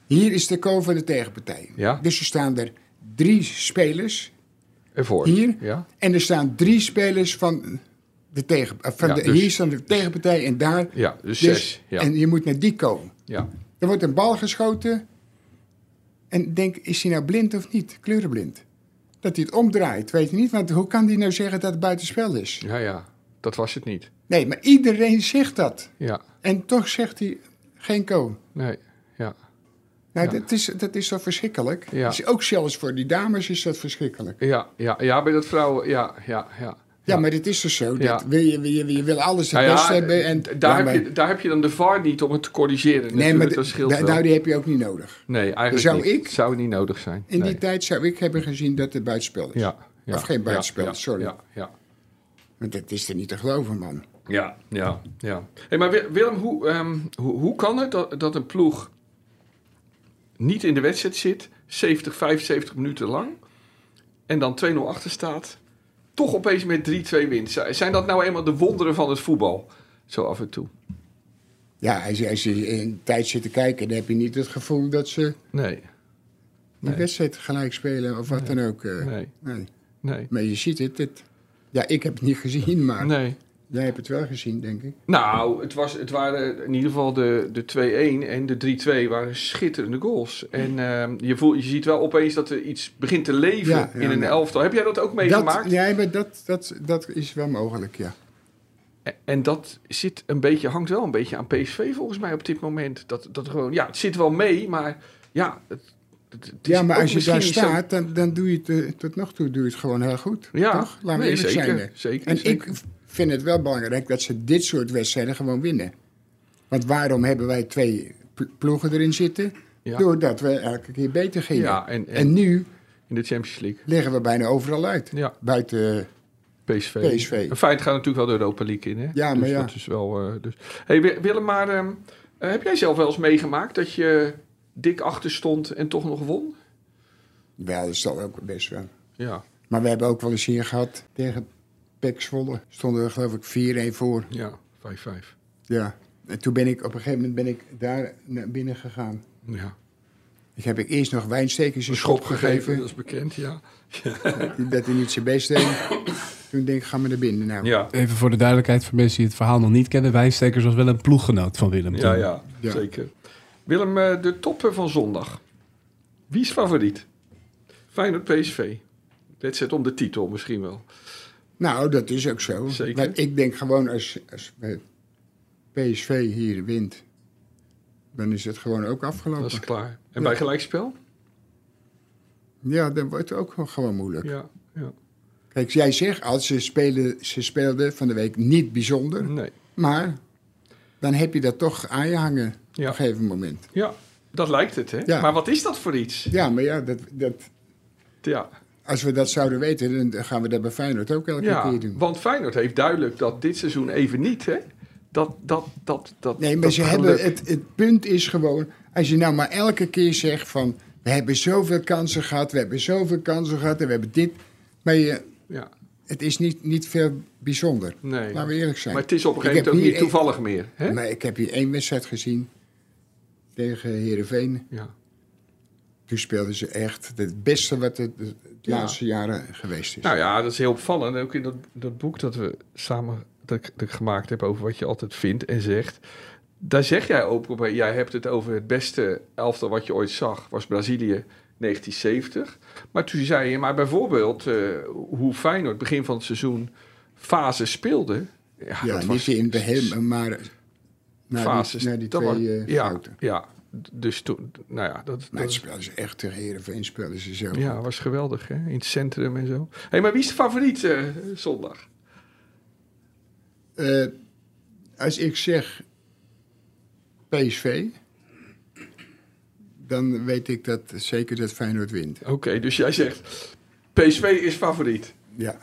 B: Hier is de kool van de tegenpartij.
C: Ja.
B: Dus er staan er drie spelers
C: Ervoor.
B: hier.
C: Ja.
B: En er staan drie spelers van de tegen... eh, Van
C: Ja,
B: de,
C: dus-
B: Hier staan de tegenpartij en daar.
C: Ja, dus,
B: Dus-
C: zes. Ja.
B: En je moet naar die komen.
C: ja.
B: Er wordt een bal geschoten. En denk, is hij nou blind of niet? Kleurenblind. Dat hij het omdraait, weet je niet. Want hoe kan die nou zeggen dat het buitenspel is?
C: ja, ja. Dat was het niet.
B: Nee, maar iedereen zegt dat.
C: Ja,
B: En toch zegt hij geen koon.
C: nee. Ja,
B: Nou,
C: Ja.
B: dat, is, dat is toch verschrikkelijk?
C: Ja.
B: Dus ook zelfs voor die dames is dat verschrikkelijk.
C: ja, ja, ja bij dat vrouwen. Ja, ja, ja.
B: Ja, maar het is dus zo. Dat
C: Ja.
B: wil je, wil je, wil je wil alles het
C: Nou ja,
B: best hebben. En,
C: d- daar,
B: ja, maar-
C: heb je, daar heb je dan de VAR niet om het te corrigeren.
B: nee, maar
C: Natuurlijk, dat
B: d-
C: scheelt
B: da-
C: wel.
B: nou, die heb je ook niet nodig.
C: nee, eigenlijk
B: zou
C: niet.
B: ik-
C: zou niet nodig zijn.
B: In
C: nee.
B: die tijd zou ik hebben gezien dat het buitenspel is.
C: ja, ja,
B: Of geen
C: ja,
B: buitenspel,
C: ja,
B: sorry.
C: Ja, ja,
B: Want dat is er niet te geloven, man.
C: ja. ja, ja. Hey, maar Wi- Willem, hoe, ehm, hoe, hoe kan het dat, dat een ploeg niet in de wedstrijd zit, 70, 75 minuten lang, en dan 2-0 achter staat, toch opeens met 3-2 wint? Z- Zijn dat nou eenmaal de wonderen van het voetbal? Zo af en toe.
B: Ja, als je, als je een tijd zit te kijken, dan heb je niet het gevoel dat ze
C: Nee,
B: de
C: Nee.
B: wedstrijd gelijk spelen of wat dan ook. eh.
C: nee,
B: Nee.
C: nee.
B: Maar je ziet het, het- Ja, ik heb het niet gezien, maar
C: Nee.
B: jij hebt het wel gezien, denk ik.
C: Nou, het, was, het waren in ieder geval de, de 2-1 en de 3-2 waren schitterende goals. En ehm, je, voelt, je ziet wel opeens dat er iets begint te leven
B: Ja, ja,
C: in een
B: ja.
C: elftal. Heb jij dat ook
B: Dat,
C: meegemaakt?
B: nee, maar dat, dat, dat is wel mogelijk, ja.
C: En- En dat zit een beetje, hangt wel een beetje aan PSV volgens mij op dit moment. Dat, dat gewoon, ja, het zit wel mee, maar ja. Het, het- het is
B: Ja, maar
C: ook
B: als je
C: misschien
B: daar
C: niet zo-
B: staat, dan, dan doe je het eh, tot nog toe doe je het gewoon heel goed.
C: ja,
B: toch? Laten we
C: nee,
B: eerlijk
C: zeker,
B: zijn. eh. hè.
C: Zeker,
B: En
C: zeker.
B: ik vind het wel belangrijk dat ze dit soort wedstrijden gewoon winnen. Want waarom hebben wij twee pl- ploegen erin zitten?
C: Ja.
B: Doordat we elke keer beter gingen.
C: ja, en, en
B: En nu
C: in de Champions League.
B: liggen we bijna overal uit.
C: Ja,
B: Buiten eh,
C: PSV.
B: PSV.
C: In feite gaat natuurlijk wel de Europa League in, hè?
B: Ja,
C: dus
B: maar ja.
C: Dat is wel, eh, dus. hey, Wi- Willem, maar ehm, eh, heb jij zelf wel eens meegemaakt dat je dik achter stond en toch nog won?
B: Wel, dat is toch ook best wel.
C: Ja,
B: Maar we hebben ook wel eens hier gehad tegen Pek Zwolle. Stonden we geloof ik 4-1 voor.
C: ja, 5-5.
B: Ja. En toen ben ik op een gegeven moment ben ik daar naar binnen gegaan.
C: Ja.
B: Ik heb ik eerst nog wijnstekers een schop gegeven.
C: dat is bekend, ja.
B: Dat hij niet zijn best deed. Toen denk ik, ga maar naar binnen nou.
C: Ja,
F: Even voor de duidelijkheid voor mensen die het verhaal nog niet kennen. Wijnstekers was wel een ploeggenoot van Willem.
C: ja,
F: toen.
C: ja,
B: Ja.
C: zeker. Willem, eh, de toppen van zondag. Wie is favoriet? Feyenoord PSV. Wedstrijd om de titel misschien wel.
B: Nou, dat is ook zo.
C: Zeker.
B: Maar ik denk gewoon als, als eh, PSV hier wint, dan is het gewoon ook
C: Dat
B: afgelopen.
C: is klaar. En
B: Ja.
C: bij gelijkspel?
B: Ja, dan wordt het ook wel gewoon moeilijk.
C: Ja, ja.
B: Kijk, jij zegt als ze spelen, ze speelden van de week niet bijzonder,
C: Nee.
B: maar dan heb je dat toch aan je hangen
C: Ja.
B: op een gegeven moment.
C: Ja, dat lijkt het, hè?
B: Ja.
C: Maar wat is dat voor iets?
B: Ja, maar ja, dat, dat,
C: Ja,
B: als we dat zouden weten, dan gaan we dat bij Feyenoord ook elke
C: ja
B: keer doen.
C: want Feyenoord heeft duidelijk dat dit seizoen even niet, hè? Dat, dat, dat, dat,
B: Nee, maar
C: dat
B: ze
C: geluk-
B: hebben, het, het punt is gewoon, als je nou maar elke keer zegt van... we hebben zoveel kansen gehad, we hebben zoveel kansen gehad en we hebben dit. Maar je,
C: Ja,
B: het is niet, niet veel bijzonder,
C: nee.
B: laten
C: Maar
B: we eerlijk zijn.
C: het is op een
B: Ik
C: gegeven moment
B: heb
C: ook
B: hier
C: niet toevallig meer, hè?
B: Maar ik heb hier één wedstrijd gezien tegen Heerenveen.
C: Ja,
B: Toen speelden ze echt het beste wat het de
C: Ja.
B: laatste jaren geweest is.
C: Nou ja, dat is heel opvallend. Ook in dat, dat boek dat we samen dat, ik- dat ik gemaakt heb over wat je altijd vindt en zegt. Daar zeg jij ook op. eh, Jij hebt het over het beste elftal wat je ooit zag, was Brazilië 1970. Maar toen zei je, maar bijvoorbeeld eh, hoe Feyenoord begin van het seizoen fase speelde. Ja,
B: ja,
C: dat
B: niet
C: was
B: in de hele, maar naar
C: fases.
B: die, naar die
C: Dat
B: twee eh,
C: was- ja,
B: fouten.
C: Ja, dus toen, nou ja, dat,
B: Maar
C: dat-
B: het speelden ze echt tegen Heerenveen, speelden ze zo.
C: ja, was geweldig hè? in het centrum en zo. hey, maar wie is de favoriet eh, zondag?
B: Eh, als ik zeg PSV, dan weet ik dat zeker dat Feyenoord wint.
C: Oké, dus jij zegt PSV is favoriet.
B: Ja.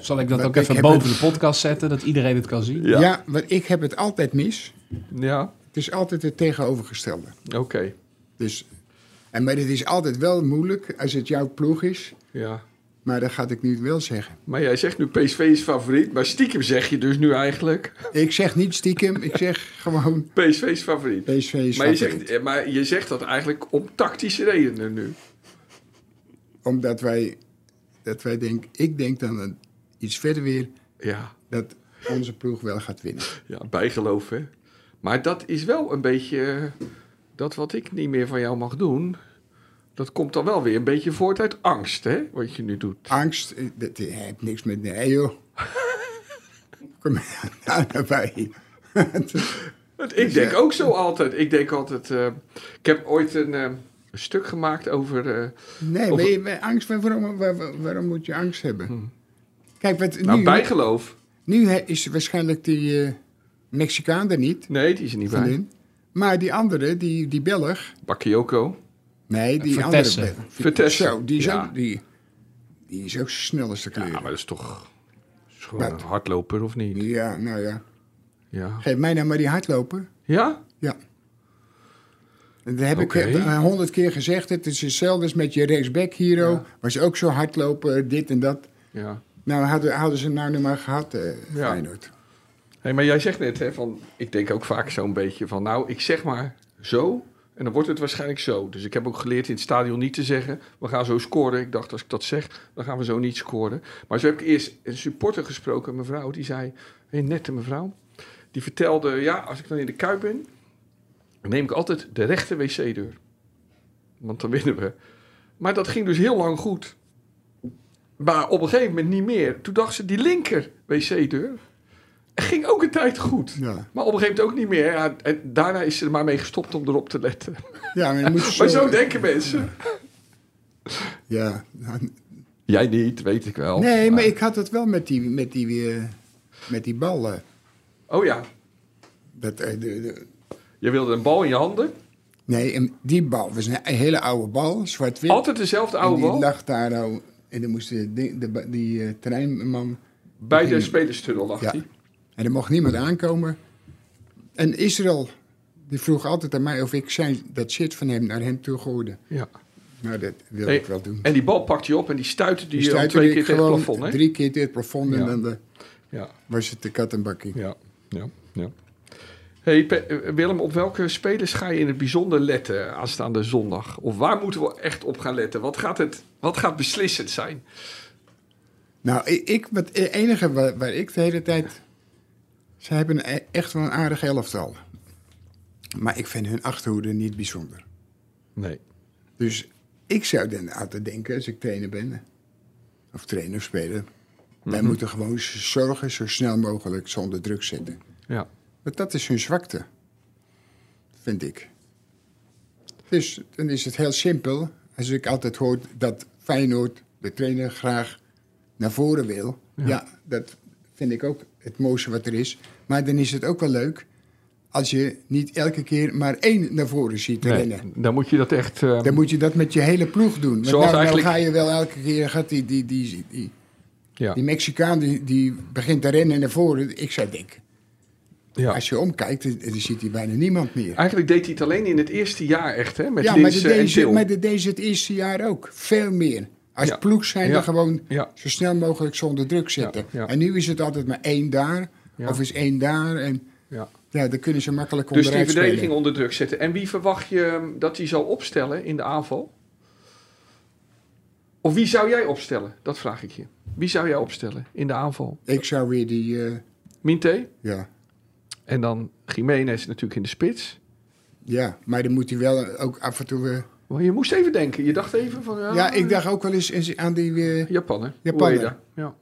F: Zal ik dat
B: Maar
F: ook
B: ik
F: even
B: heb
F: boven
B: het-
F: de podcast zetten, dat iedereen het kan zien?
B: Ja. want ik heb het altijd mis.
C: Ja,
B: Het is altijd het tegenovergestelde.
C: oké.
B: Dus, en, maar het is altijd wel moeilijk als het jouw ploeg is.
C: Ja.
B: Maar dat ga ik nu wel zeggen.
C: Maar jij zegt nu PSV is favoriet, maar stiekem zeg je dus nu eigenlijk
B: Ik zeg niet stiekem, ik zeg gewoon
C: PSV is favoriet.
B: PSV is
C: maar, je
B: favoriet.
C: zegt, eh, maar je zegt dat eigenlijk om tactische redenen nu.
B: Omdat wij, dat wij denk, ik denk dan een- iets verder weer
C: Ja,
B: dat onze ploeg wel gaat winnen.
C: ja bijgeloof hè. Maar dat is wel een beetje eh, dat wat ik niet meer van jou mag doen. Dat komt dan wel weer een beetje voort uit angst, hè? Wat je nu doet.
B: eh, Angst, eh, dat heeft niks met... Nee, joh. Voor mij nou, daarbij.
C: Want ik denk ook zo altijd. Ik denk altijd. eh, ik heb ooit een eh, stuk gemaakt over. eh,
B: nee,
C: Of- Hmm.
B: maar je- maar angst, waar- waarom, waar- waarom moet je angst hebben? Kijk, wat,
C: nou,
B: nu,
C: bijgeloof.
B: nu he- is waarschijnlijk die eh, Mexicaan er niet.
C: Nee, die is er niet bij.
B: Van maar die andere, die, die Belg.
C: Bakayoko.
B: Nee, die
F: Vertessen.
B: andere Belg.
C: Vertessen,
B: Zo, die is,
C: ja.
B: ook, die, die is ook snel als de kleur.
C: Ja,
B: Ja,
C: Ah, maar dat is toch. is gewoon
B: Wat?
C: een hardloper of niet?
B: nou ja.
C: Ja.
B: Geef mij nou maar die hardlopen.
C: Ja?
B: Ja. En Dat heb
C: Oké.
B: ik eh, honderd keer gezegd. Het is hetzelfde als met je rechtsback hero.
C: Ja.
B: Was ook zo hardlopen, dit en dat.
C: Ja.
B: Nou, hadden, hadden ze nou nu maar gehad, eh
C: Ja.
B: Feyenoord.
C: Hey, maar jij zegt net, hè, van, ik denk ook vaak zo'n beetje van, nou, ik zeg maar zo en dan wordt het waarschijnlijk zo. Dus ik heb ook geleerd in het stadion niet te zeggen, we gaan zo scoren. Ik dacht, als ik dat zeg, dan gaan we zo niet scoren. Maar zo heb ik eerst een supporter gesproken, een mevrouw, die zei, een nette mevrouw, die vertelde, ja, als ik dan in de Kuip ben, dan neem ik altijd de rechte wc-deur. Want dan winnen we. Maar dat ging dus heel lang goed. Maar op een gegeven moment niet meer. Toen dacht ze, die linker wc-deur ging ook een tijd goed.
B: Ja.
C: Maar op een gegeven moment ook niet meer. Ja, en daarna is ze er maar mee gestopt om erop te letten.
B: ja, maar je moet zo...
C: Maar zo denken mensen.
B: Ja. nou,
C: Jij niet, weet ik wel.
B: Nee, maar ik had het wel met die, met die, eh, met die ballen.
C: Oh ja,
B: Dat, eh, de, de-
C: je wilde een bal in je handen.
B: nee, en die bal was een hele oude bal, zwart-wit.
C: Altijd dezelfde oude
B: en die
C: bal.
B: lag daar nou... En dan moest de, de, de- die eh, treinman...
C: Bij de
B: ging-
C: spelerstunnel lag
B: Ja.
C: die.
B: En er mocht niemand aankomen. En Israël, die vroeg altijd aan mij of ik zijn, dat shit van hem naar hem toe gooide.
C: Ja.
B: Nou, dat wilde
C: Hey,
B: ik wel doen.
C: En die bal pakte je op en die stuitte die,
B: Dus
C: al
B: daar
C: twee
B: deed
C: keer
B: ik
C: tegen het
B: gewoon
C: plafond. Hè?
B: Drie keer tegen het plafond en
C: Ja.
B: dan de-
C: Ja,
B: was het de kat en bakkie.
C: ja, ja, ja. Hey, Pe- eh, Willem, op welke spelers ga je in het bijzonder letten aanstaande zondag? Of waar moeten we echt op gaan letten? Wat gaat, het, wat gaat beslissend zijn?
B: Nou, ik, ik- wat- het enige waar, waar ik de hele tijd... Ze hebben e- echt wel een aardig elftal. Maar ik vind hun achterhoede niet bijzonder.
C: Nee.
B: Dus ik zou dan altijd denken, als ik trainer ben, of trainer of speler, wij moeten gewoon z- zorgen zo snel mogelijk ze onder druk zetten.
C: Ja.
B: Want dat is hun zwakte, vind ik. Dus dan is het heel simpel. Als ik altijd hoor dat Feyenoord de trainer graag naar voren wil, ja. dat vind ik ook het mooiste wat er is. Maar dan is het ook wel leuk als je niet elke keer maar één naar voren ziet rennen.
C: dan moet je dat echt. eh,
B: Dan moet je dat met je hele ploeg doen. Want
C: Zoals
B: nou, nou
C: eigenlijk-
B: ga je wel elke keer, gaat die, die, die, die,
C: ja.
B: die Mexicaan die, die begint te rennen naar voren. Ik zou denken,
C: ja. Ah,
B: als je omkijkt, dan, dan ziet hij bijna niemand meer.
C: Eigenlijk deed hij het alleen in het eerste jaar echt, hè? Met
B: ja, maar
C: Linssen
B: dat deed
C: en
B: ze-
C: Til.
B: maar dat deed ze het eerste jaar ook. Veel meer. Als
C: Ja.
B: ploeg zijn
C: Ja.
B: we gewoon
C: Ja.
B: zo snel mogelijk zonder druk zetten.
C: Ja. Ja.
B: En nu is het altijd maar één daar,
C: Ja.
B: of is één daar. En
C: Ja.
B: ja, dan kunnen ze makkelijk
C: Dus die
B: onderuit
C: verdediging
B: spelen.
C: onder druk zetten. En wie verwacht je ehm, dat hij zal opstellen in de aanval? Of wie zou jij opstellen? Dat vraag ik je. Wie zou jij opstellen in de aanval?
B: Ik zou weer die, eh,
C: Minte
B: ja.
C: en dan Jiménez natuurlijk in de spits.
B: ja, maar dan moet hij wel ook af en toe... eh,
C: Maar je moest even denken. Je dacht even van... Ja,
B: ja, ik dacht ook wel eens aan die... eh,
C: Japan, hè?
B: Japan, hè?
C: Ueda. Ja.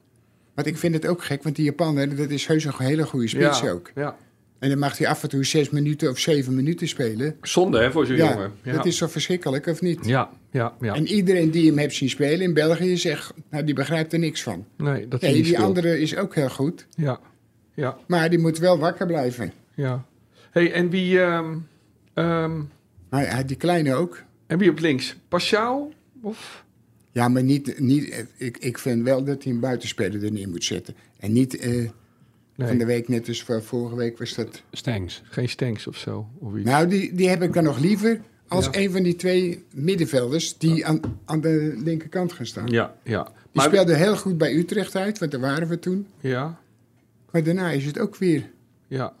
B: Want ik vind het ook gek, want die Japaner, dat is heus een hele goede spits
C: ja.
B: ook.
C: Ja.
B: En dan mag hij af en toe zes minuten of zeven minuten spelen.
C: Zonde, hè, voor zo'n
B: Ja,
C: jongen. Ja.
B: dat is toch verschrikkelijk, of niet?
C: ja, ja, ja.
B: En iedereen die hem heeft zien spelen in België zegt, nou, die begrijpt er niks van.
C: Nee, dat
B: Nee,
C: is niet
B: die
C: speelt.
B: andere is ook heel goed,
C: Ja, ja,
B: maar die moet wel wakker blijven.
C: ja. hey, en wie, ehm, ehm,
B: Maar ja, die kleine ook.
C: en wie op links? Paschaal? Of?
B: Ja, maar niet, niet, ik, ik vind wel dat hij een buitenspeler er neer moet zetten. En niet eh, van de
C: Nee,
B: week, net als voor- vorige week was dat...
F: Stengs.
C: geen Stenks of zo. Of iets.
B: Nou, die, die heb ik dan nog liever als
C: Ja.
B: een van die twee middenvelders die aan, aan de linkerkant gaan staan.
C: Ja, ja.
B: Die
C: Maar,
B: speelde heel goed bij Utrecht uit, want daar waren we toen.
C: ja,
B: Maar daarna is het ook weer.
C: ja.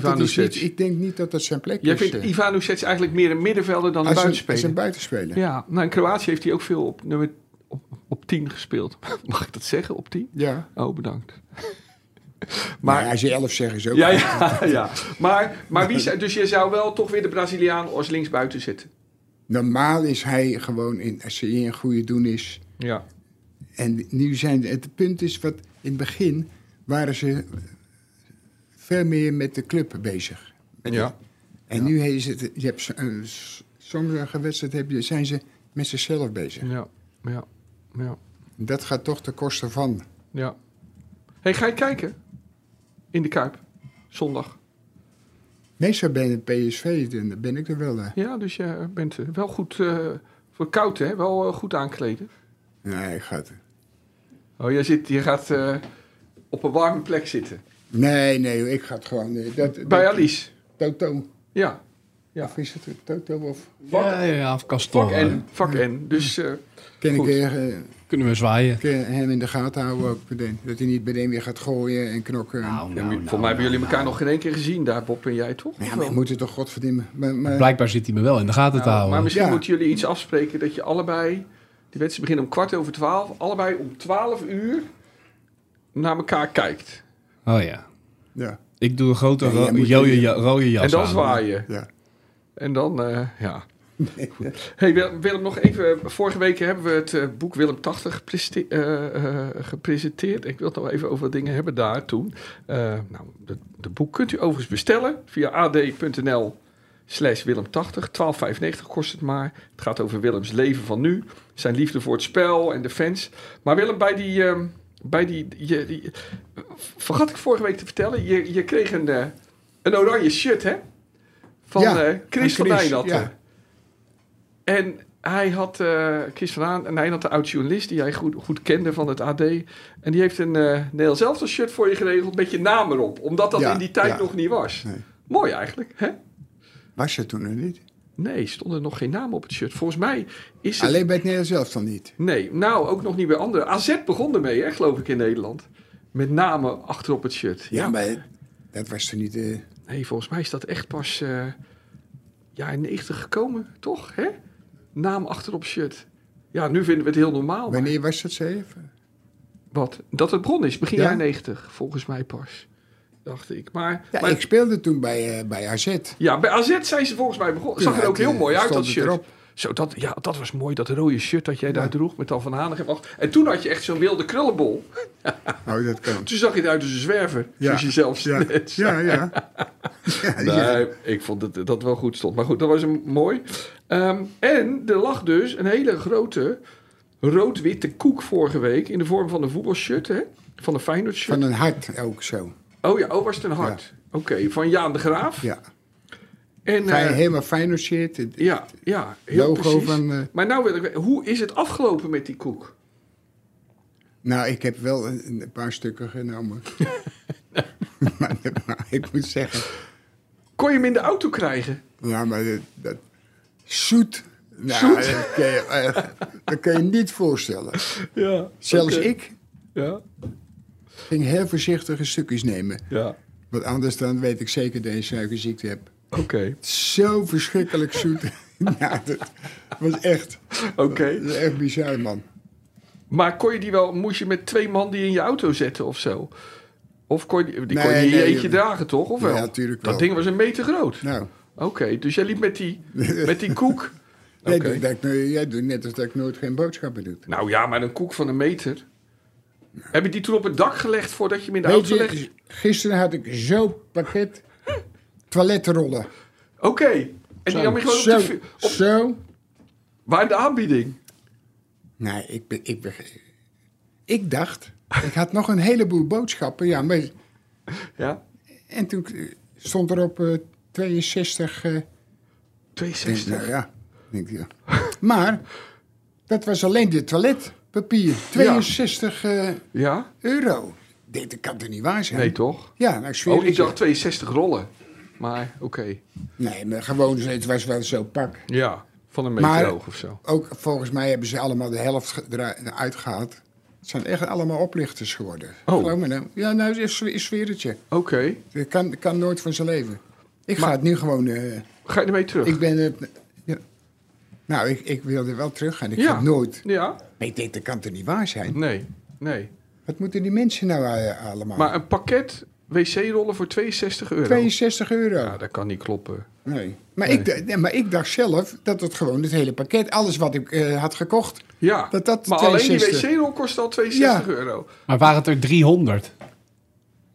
B: Want dat
C: Ivan
B: is niet,
C: Lucets.
B: ik denk niet dat dat zijn plek
C: Jij
B: is.
C: vindt
B: eh,
C: Ivan Lucets eigenlijk meer een middenvelder dan een
B: als een, als
C: buitenspeler?
B: een buitenspeler. Ja.
C: Ja, nou in Kroatië heeft hij ook veel op nummer op, op 10 gespeeld. Mag ik dat zeggen, op 10? Oh, bedankt.
B: Maar Nou, als je elf zegt is ook.
C: Ja, ja, ja. Maar, maar wie zou, dus je zou wel toch weer de Braziliaan als linksbuiten zitten?
B: Normaal is hij gewoon, in, als hij in een goede doen is.
C: Ja.
B: En nu zijn het punt is wat in het begin waren ze veel meer met de club bezig. Met
C: Ja.
B: En nu is het, je hebt zo- een- s- soms een wedstrijd heb je, zijn ze met zichzelf bezig.
C: Ja, ja, ja,
B: Dat gaat toch ten koste van.
C: ja. hey, ga je kijken? In de Kuip. Zondag.
B: Meestal ben ik PSV, dan ben ik er wel. eh.
C: Ja, dus je bent eh, wel goed... eh, voor koud, hè? Wel eh, goed aankleden.
B: Nee, gaat.
C: Oh, jij zit, je gaat eh, op een warme plek zitten.
B: Nee, nee, ik ga het gewoon. eh, dat, dat-
C: Bij Alice.
B: Toto.
C: Ja. Ja.
B: Of is het Toto? Of
F: Ja, ja, ja, of Castor.
C: Vak N. Vak N. Dus eh,
B: kan
C: Goed.
B: ik eh,
F: Kunnen we zwaaien?
B: kun je hem in de gaten houden ook meteen? Dat hij niet meteen weer gaat gooien en knokken.
C: Nou, volgens mij hebben jullie elkaar nog geen één keer gezien daar, Bob en jij, toch?
B: ja, maar je moet het toch godverdimme. Maar, maar,
F: Blijkbaar zit hij me wel in de gaten te
C: Nou, maar
F: houden.
C: misschien
B: Ja.
C: moeten jullie iets afspreken dat je allebei... Die wedstrijd begint om kwart over twaalf. Allebei om twaalf uur naar elkaar kijkt.
F: Oh ja.
B: ja,
F: Ik doe een grote
B: Nee,
F: ro-
B: jij moet-
F: jode ja- rode jas
C: en dan
F: aan.
C: zwaaien.
B: ja.
C: En dan, eh, ja. Goed. Hey, Wil- Willem, nog even. Vorige week hebben we het eh, boek Willem 80 gepreste- eh, eh, gepresenteerd. Ik wil het nog even over wat dingen hebben daar toen. Eh, nou, de, de boek kunt u overigens bestellen via ad.nl slash Willem 80. 12,95 kost het maar. Het gaat over Willems leven van nu. Zijn liefde voor het spel en de fans. Maar Willem, bij die... ehm, bij die, je- die- vergat ik vorige week te vertellen. Je, je kreeg een, eh, een oranje shirt, hè? Van
B: Ja,
C: eh, Chris
B: van
C: van
B: Chris,
C: Eijnatten.
B: ja.
C: En hij had, eh Chris van Aan, en hij had de oud-journalist die jij goed, goed kende van het AD. En die heeft een eh Nederlands Elftal shirt voor je geregeld met je naam erop. Omdat dat
B: Ja,
C: in die tijd
B: ja.
C: nog niet was.
B: Nee.
C: Mooi eigenlijk, hè?
B: Was je toen nog niet?
C: Nee, stond er nog geen naam op het shirt. Volgens mij is het...
B: Alleen bij het Nederlands zelf dan niet.
C: Nee, nou, ook nog niet bij anderen. AZ begon ermee, hè, geloof ik, in Nederland. Met namen achterop het shirt.
B: Ja, maar dat was toen niet. eh,
C: Nee, volgens mij is dat echt pas eh jaar 90 gekomen, toch? Hè? Naam achterop shirt. Ja, nu vinden we het heel normaal. maar-
B: wanneer was dat, zei je?
C: Wat? Dat het bron is, begin
B: Ja?
C: jaar 90, volgens mij pas. Dacht ik. Maar,
B: Ja,
C: maar-
B: ik speelde toen bij, eh, bij AZ.
C: ja, bij AZ zijn ze volgens mij begonnen. Zag er
B: Ja,
C: ook heel
B: eh,
C: mooi uit,
B: stond het
C: dat shirt.
B: erop.
C: Zo, dat, ja, dat was mooi, dat rode shirt dat jij daar droeg met Al van Hanegem. achter. En toen had je echt zo'n wilde krullenbol.
B: Oh, dat kan.
C: Toen zag je eruit als een zwerver, zoals je zelf
B: Ja,
C: net zei.
B: ja. ja. ja, ja.
C: Nee, ik vond dat dat wel goed stond. Maar goed, dat was een mooi. Ehm, en er lag dus een hele grote rood-witte koek vorige week... in de vorm van een voetbalshirt, hè? Van een Feyenoord shirt.
B: Van een hart ook zo.
C: Oh ja, oh was het een hart. Oké, van Jaan de Graaf.
B: Ja.
C: En,
B: Fijn-
C: eh,
B: helemaal fijn shit. Het
C: ja, ja, heel
B: logo
C: precies.
B: van. eh,
C: Maar nou wil ik weten, hoe is het afgelopen met die koek?
B: nou, ik heb wel een, een paar stukken genomen. maar, maar ik moet zeggen.
C: Kon je hem in de auto krijgen?
B: Ja, maar dat. dat zoet. Nou,
C: Zoet?
B: Dat, kun je, eh, dat kun je niet voorstellen.
C: Ja.
B: Zelfs ik
C: Ja,
B: ging heel voorzichtige stukjes nemen.
C: ja.
B: Want anders dan weet ik zeker dat je suikerziekte hebt.
C: Oké,
B: Zo verschrikkelijk zoet. ja, dat was echt,
C: oké.
B: dat was echt bizar, man.
C: Maar kon je die wel, moest je met twee man die in je auto zetten of zo? Of kon je die, die kon je
B: Nee,
C: in je
B: nee,
C: eentje
B: nee.
C: dragen toch? Of wel?
B: Ja, tuurlijk
C: Dat
B: wel.
C: ding was een meter groot.
B: Nou,
C: Oké, dus jij liep met die, met die koek. Oké.
B: jij, doet, dat ik nooit- jij doet net alsof dat ik nooit geen boodschappen doe.
C: Nou ja, maar een koek van een meter. Heb je die toen op het dak gelegd voordat je hem in de
B: Weet
C: auto legde?
B: je, gisteren had ik zo'n pakket toiletrollen.
C: Oké. En die nam je gewoon op
B: Zo,
C: de... vu- Op,
B: zo.
C: waar de aanbieding?
B: Nee, ik, ben- ik, ben- ik dacht, ik had nog een heleboel boodschappen. Ja, maar,
C: Ja.
B: en toen stond er op eh, 62... eh,
C: 62.
B: Nou ja, denk ik. ja. Maar dat was alleen de toiletpapier. 62 eh,
C: Ja?
B: euro. Dit dat kan toch niet waar zijn?
C: Nee, toch?
B: Ja, nou, ik zweer
C: Oh,
B: het
C: ik
B: je.
C: dacht 62 rollen. Maar oké.
B: Nee, maar gewoon, zo- het was wel zo pak.
C: Ja, van een meter
B: Maar-
C: hoog of zo.
B: Ook volgens mij hebben ze allemaal de helft ge- era- eruit gehaald. Het zijn echt allemaal oplichters geworden.
C: Oh.
B: Geloof me nou. Ja, nou, ik zweer- ik zweer het je.
C: Oké.
B: Dat kan, kan nooit van zijn leven. Ik ga het nu gewoon... eh,
C: Ga je ermee terug?
B: ik ben... eh, ja. Nou, ik, ik wilde wel terug gaan. Ik
C: Ja.
B: ga het nooit.
C: Ja?
B: Maar ik denk, dat kan toch niet waar zijn?
C: Nee, nee.
B: Wat moeten die mensen nou eh, allemaal?
C: Maar een pakket wc-rollen voor 62 euro.
B: 62 euro.
C: Ja, dat kan niet kloppen.
B: nee. Maar,
C: Nee.
B: Ik, d- nee, maar ik dacht zelf dat het gewoon het hele pakket, alles wat ik eh, had gekocht.
C: Ja,
B: Dat- dat
C: maar alleen
B: 62.
C: die wc-rol kost al 62
B: Ja.
C: euro.
F: Maar waren het er 300?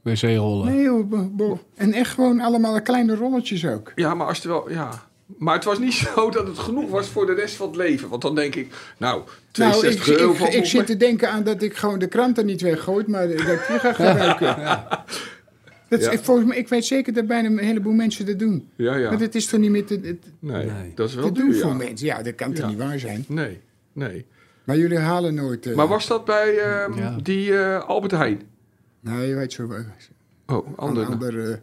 F: wc-rollen.
B: Nee, joh, bo- bo- en echt gewoon allemaal kleine rolletjes ook.
C: Ja, maar als er wel. Ja. Maar het was niet zo dat het genoeg was voor de rest van het leven. Want dan denk ik, nou,
B: Nou, ik,
C: 62 euro
B: ik,
C: van
B: ik zit te denken aan dat ik gewoon de kranten niet weggooi, maar dat ik die ga gebruiken. Dat is,
C: Ja.
B: volgens mij, ik weet zeker dat bijna een heleboel mensen dat doen.
C: Ja, ja.
B: Maar het is toch niet meer te, te-
C: Nee,
F: Nee.
C: dat is wel
B: te
C: duur.
B: doen
C: ja.
B: voor mensen? Ja, dat kan toch
C: Ja.
B: niet waar zijn?
C: Nee, nee.
B: Maar jullie halen nooit... eh,
C: Maar was dat bij ehm,
F: Ja.
C: die eh, Albert Heijn?
B: Nee, je weet zo... eh,
C: Oh,
B: Een
C: ander. Oké.
B: ander,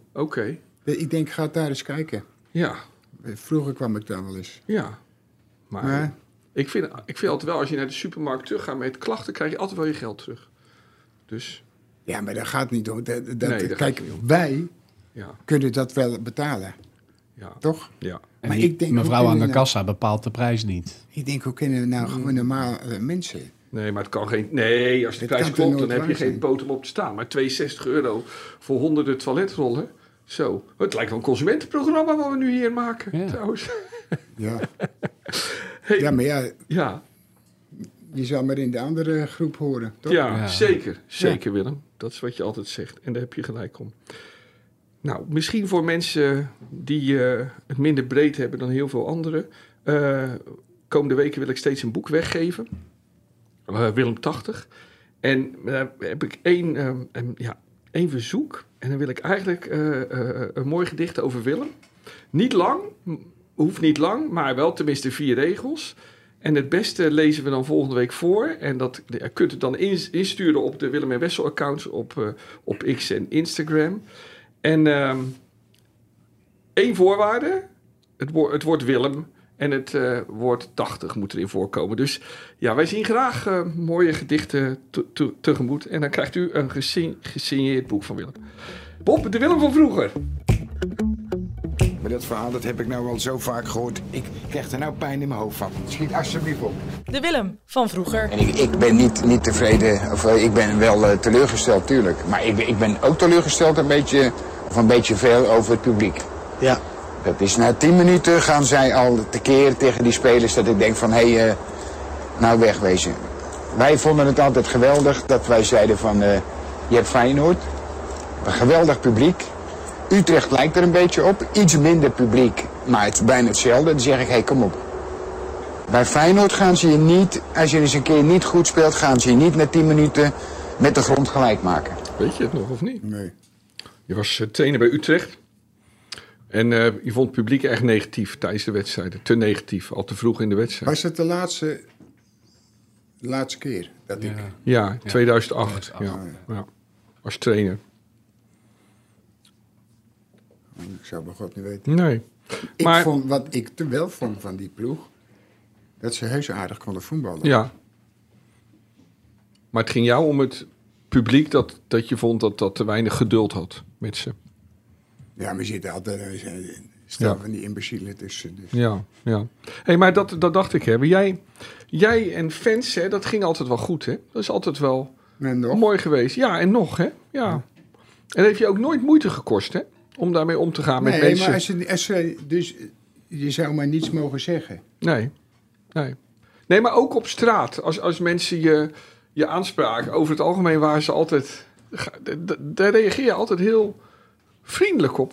B: eh, ik denk, ga daar eens kijken.
C: Ja,
B: Vroeger kwam ik daar wel eens.
C: ja. Maar
B: Maar
C: ik, vind, ik vind altijd wel, als je naar de supermarkt teruggaat met klachten, krijg je altijd wel je geld terug. Dus
B: Ja, maar dat gaat niet om. Dat, dat-
C: Nee, daar
B: kijk,
C: gaat het niet
B: wij
C: ja,
B: kunnen dat wel betalen,
C: ja,
B: toch?
C: ja.
F: En
B: maar
F: die
B: ik denk, hoe
F: mevrouw aan de
B: kunnen we nou-
F: kassa bepaalt de prijs niet.
B: Ik denk, hoe kunnen we
C: Mm.
B: nou gewoon normale eh, mensen?
C: Nee, maar het kan geen. Nee, als de
B: Het
C: prijs
B: kan er
C: klopt, dan
B: nooit
C: heb je
B: waar
C: geen
B: zijn.
C: poot om op te staan. Maar 62 euro voor honderden toiletrollen. Zo. Het lijkt wel een consumentenprogramma wat we nu hier maken.
F: Ja.
C: Trouwens.
B: Ja.
C: Hey.
B: ja, maar ja,
C: Ja,
B: je zal maar in de andere groep horen, toch?
C: ja,
F: Ja.
C: zeker. Zeker, Willem. Dat is wat je altijd zegt. En daar heb je gelijk om. Nou, misschien voor mensen die eh, het minder breed hebben dan heel veel anderen. eh, komende weken wil ik steeds een boek weggeven. Eh, Willem 80. En eh, heb ik één, ehm, ehm, ja, één verzoek. En dan wil ik eigenlijk eh, eh, een mooi gedicht over Willem. Niet lang, m- hoeft niet lang, maar wel tenminste vier regels. En het beste lezen we dan volgende week voor. En dat ja, kunt u dan ins- insturen op de Willem en Wessel accounts op, eh, op X en Instagram. En ehm, één voorwaarde. Het, wo- het woord Willem en het eh, woord 80 moet erin voorkomen. Dus ja, wij zien graag eh, mooie gedichten te- te- tegemoet. En dan krijgt u een gesign- gesigneerd boek van Willem. Bob, de Willem van vroeger.
G: Maar dat verhaal dat heb ik nou al zo vaak gehoord. Ik krijg er nou pijn in mijn hoofd van. Schiet alsjeblieft op.
D: De Willem van vroeger.
H: En ik, ik ben niet, niet tevreden, of eh, ik ben wel eh, teleurgesteld, tuurlijk. Maar ik, ben- ik ben ook teleurgesteld een beetje, of een beetje veel over het publiek.
I: Ja.
H: Dat is na tien minuten gaan zij al tekeer tegen die spelers dat ik denk van, hé, eh, nou wegwezen. Wij vonden het altijd geweldig dat wij zeiden van, eh, je hebt Feyenoord, een geweldig publiek. Utrecht lijkt er een beetje op, iets minder publiek, maar het is bijna hetzelfde. Dan zeg ik, hé, kom op. Bij Feyenoord gaan ze je niet, als je eens een keer niet goed speelt, gaan ze je niet na 10 minuten met de grond gelijk maken.
C: Weet je het nog of niet?
B: Nee.
C: Je was eh, trainer bij Utrecht. En eh, je vond het publiek echt negatief tijdens de wedstrijden. Te negatief, al te vroeg in de wedstrijd.
B: Was het de laatste, de laatste keer dat ik...
C: Ja, 2008. Ja,
F: 2008,
C: ja. Als trainer.
B: Oh, Ik zou mijn god niet weten.
C: Nee.
B: Ik
C: Maar-
B: vond, wat ik te wel vond van die ploeg, dat ze heus aardig konden voetballen.
C: Ja. Maar het ging jou om het publiek dat, dat je vond dat dat te weinig geduld had met ze.
B: Ja, maar je zit altijd... eh, Stel
C: Ja.
B: van die imbecielen tussen. Dus.
C: Ja, ja. hey, maar dat, dat dacht ik. Hè. Maar Jij, jij en fans, hè, dat ging altijd wel goed. Hè? Dat is altijd wel...
B: En nog,
C: Mooi geweest. Ja, en nog, hè? Ja. En heeft je ook nooit moeite gekost, hè? Om daarmee om te gaan met
B: nee,
C: mensen.
B: maar als je, als je, dus eh, je zou maar niets mogen zeggen.
C: Nee. Nee. Nee, maar ook op straat. Als, als mensen je, je aanspraken, over het algemeen waren ze altijd... ga- d- d- Daar reageer je altijd heel vriendelijk op.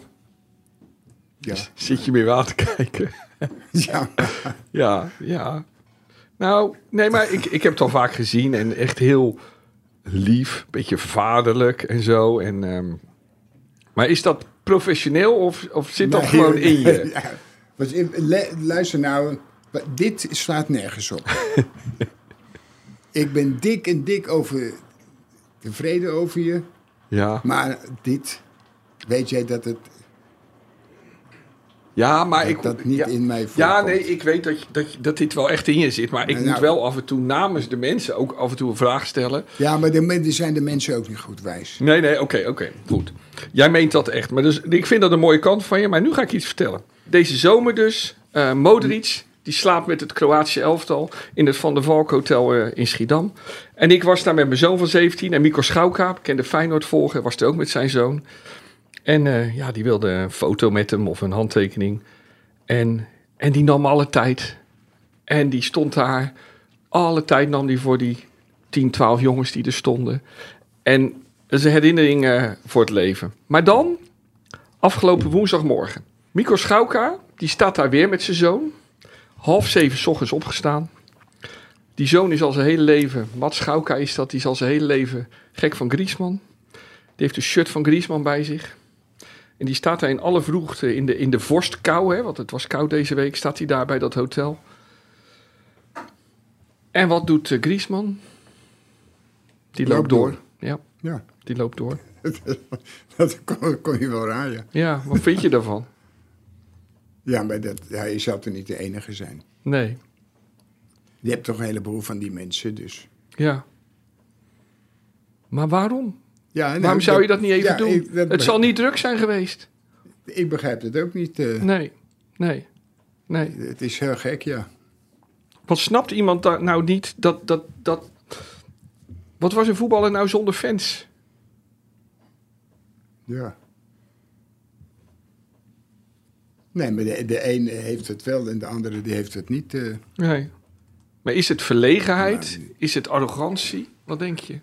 B: Ja,
C: Zit je meer aan te kijken.
B: ja.
C: Ja, ja. Nou, nee, maar ik, ik heb het al vaak gezien en echt heel lief, een beetje vaderlijk en zo. En, ehm, maar is dat professioneel of, of zit dat
B: Nee,
C: gewoon in je?
B: ja. Want in- le- luister nou, wa- dit slaat nergens op. ik ben dik en dik over, tevreden over je,
C: Ja,
B: maar dit, weet jij dat het
C: ja maar
B: dat
C: Ah, ik...
B: dat niet
C: ja,
B: in mij voorkomt?
C: ja, nee, ik weet dat, je- dat, je- dat dit wel echt in je zit. Maar ik
B: Nou,
C: moet
B: nou.
C: wel af en toe namens de mensen ook af en toe een vraag stellen.
B: Ja, maar de, men- zijn de mensen ook niet goed wijs.
C: Nee, nee, oké, oké, goed. Jij meent dat echt. Maar dus, ik vind dat een mooie kant van je. Maar nu ga ik iets vertellen. Deze zomer dus, eh Modric, die slaapt met het Kroatische elftal in het Van der Valk Hotel eh, in Schiedam. En ik was daar met mijn zoon van 17 en Mico Schouwkaap, kende Feyenoord volgen, was er ook met zijn zoon. En eh, ja, die wilde een foto met hem of een handtekening. En, en die nam alle tijd. En die stond daar. Alle tijd nam die voor die 10, 12 jongens die er stonden. En Dat is een herinnering eh, voor het leven. Maar dan, afgelopen woensdagmorgen. Mikko Schauka, die staat daar weer met zijn zoon. Half zeven 's ochtends opgestaan. Die zoon is al zijn hele leven, Mats Schauka is dat, die is al zijn hele leven gek van Griezmann. Die heeft een shirt van Griezmann bij zich. En die staat daar in alle vroegte in de, in de vorstkou, hè, want het was koud deze week, staat hij daar bij dat hotel. En wat doet eh, Griezmann? Die loopt
B: Loopt door.
C: door. Ja,
B: Ja,
C: die loopt door.
B: dat kon, kon je wel raaien.
C: Ja, wat vind je daarvan?
B: Ja, maar dat, ja, je zou er niet de enige zijn.
C: Nee.
B: Je hebt toch een heleboel van die mensen, dus...
C: Ja. Maar waarom?
B: Ja, nou,
C: waarom zou je dat niet even
B: ja,
C: doen?
B: ik- dat
C: het
B: be-
C: zal niet druk zijn geweest.
B: Ik begrijp het ook niet. eh,
C: Nee. Nee. Nee.
B: Het is heel gek, ja.
C: Wat snapt iemand daar nou niet dat, dat, dat... Wat was een voetballer nou zonder fans?
B: Ja. Nee, maar de, de een heeft het wel en de andere die heeft het niet. eh.
C: Nee. Maar is het verlegenheid? Is het arrogantie? Wat denk je?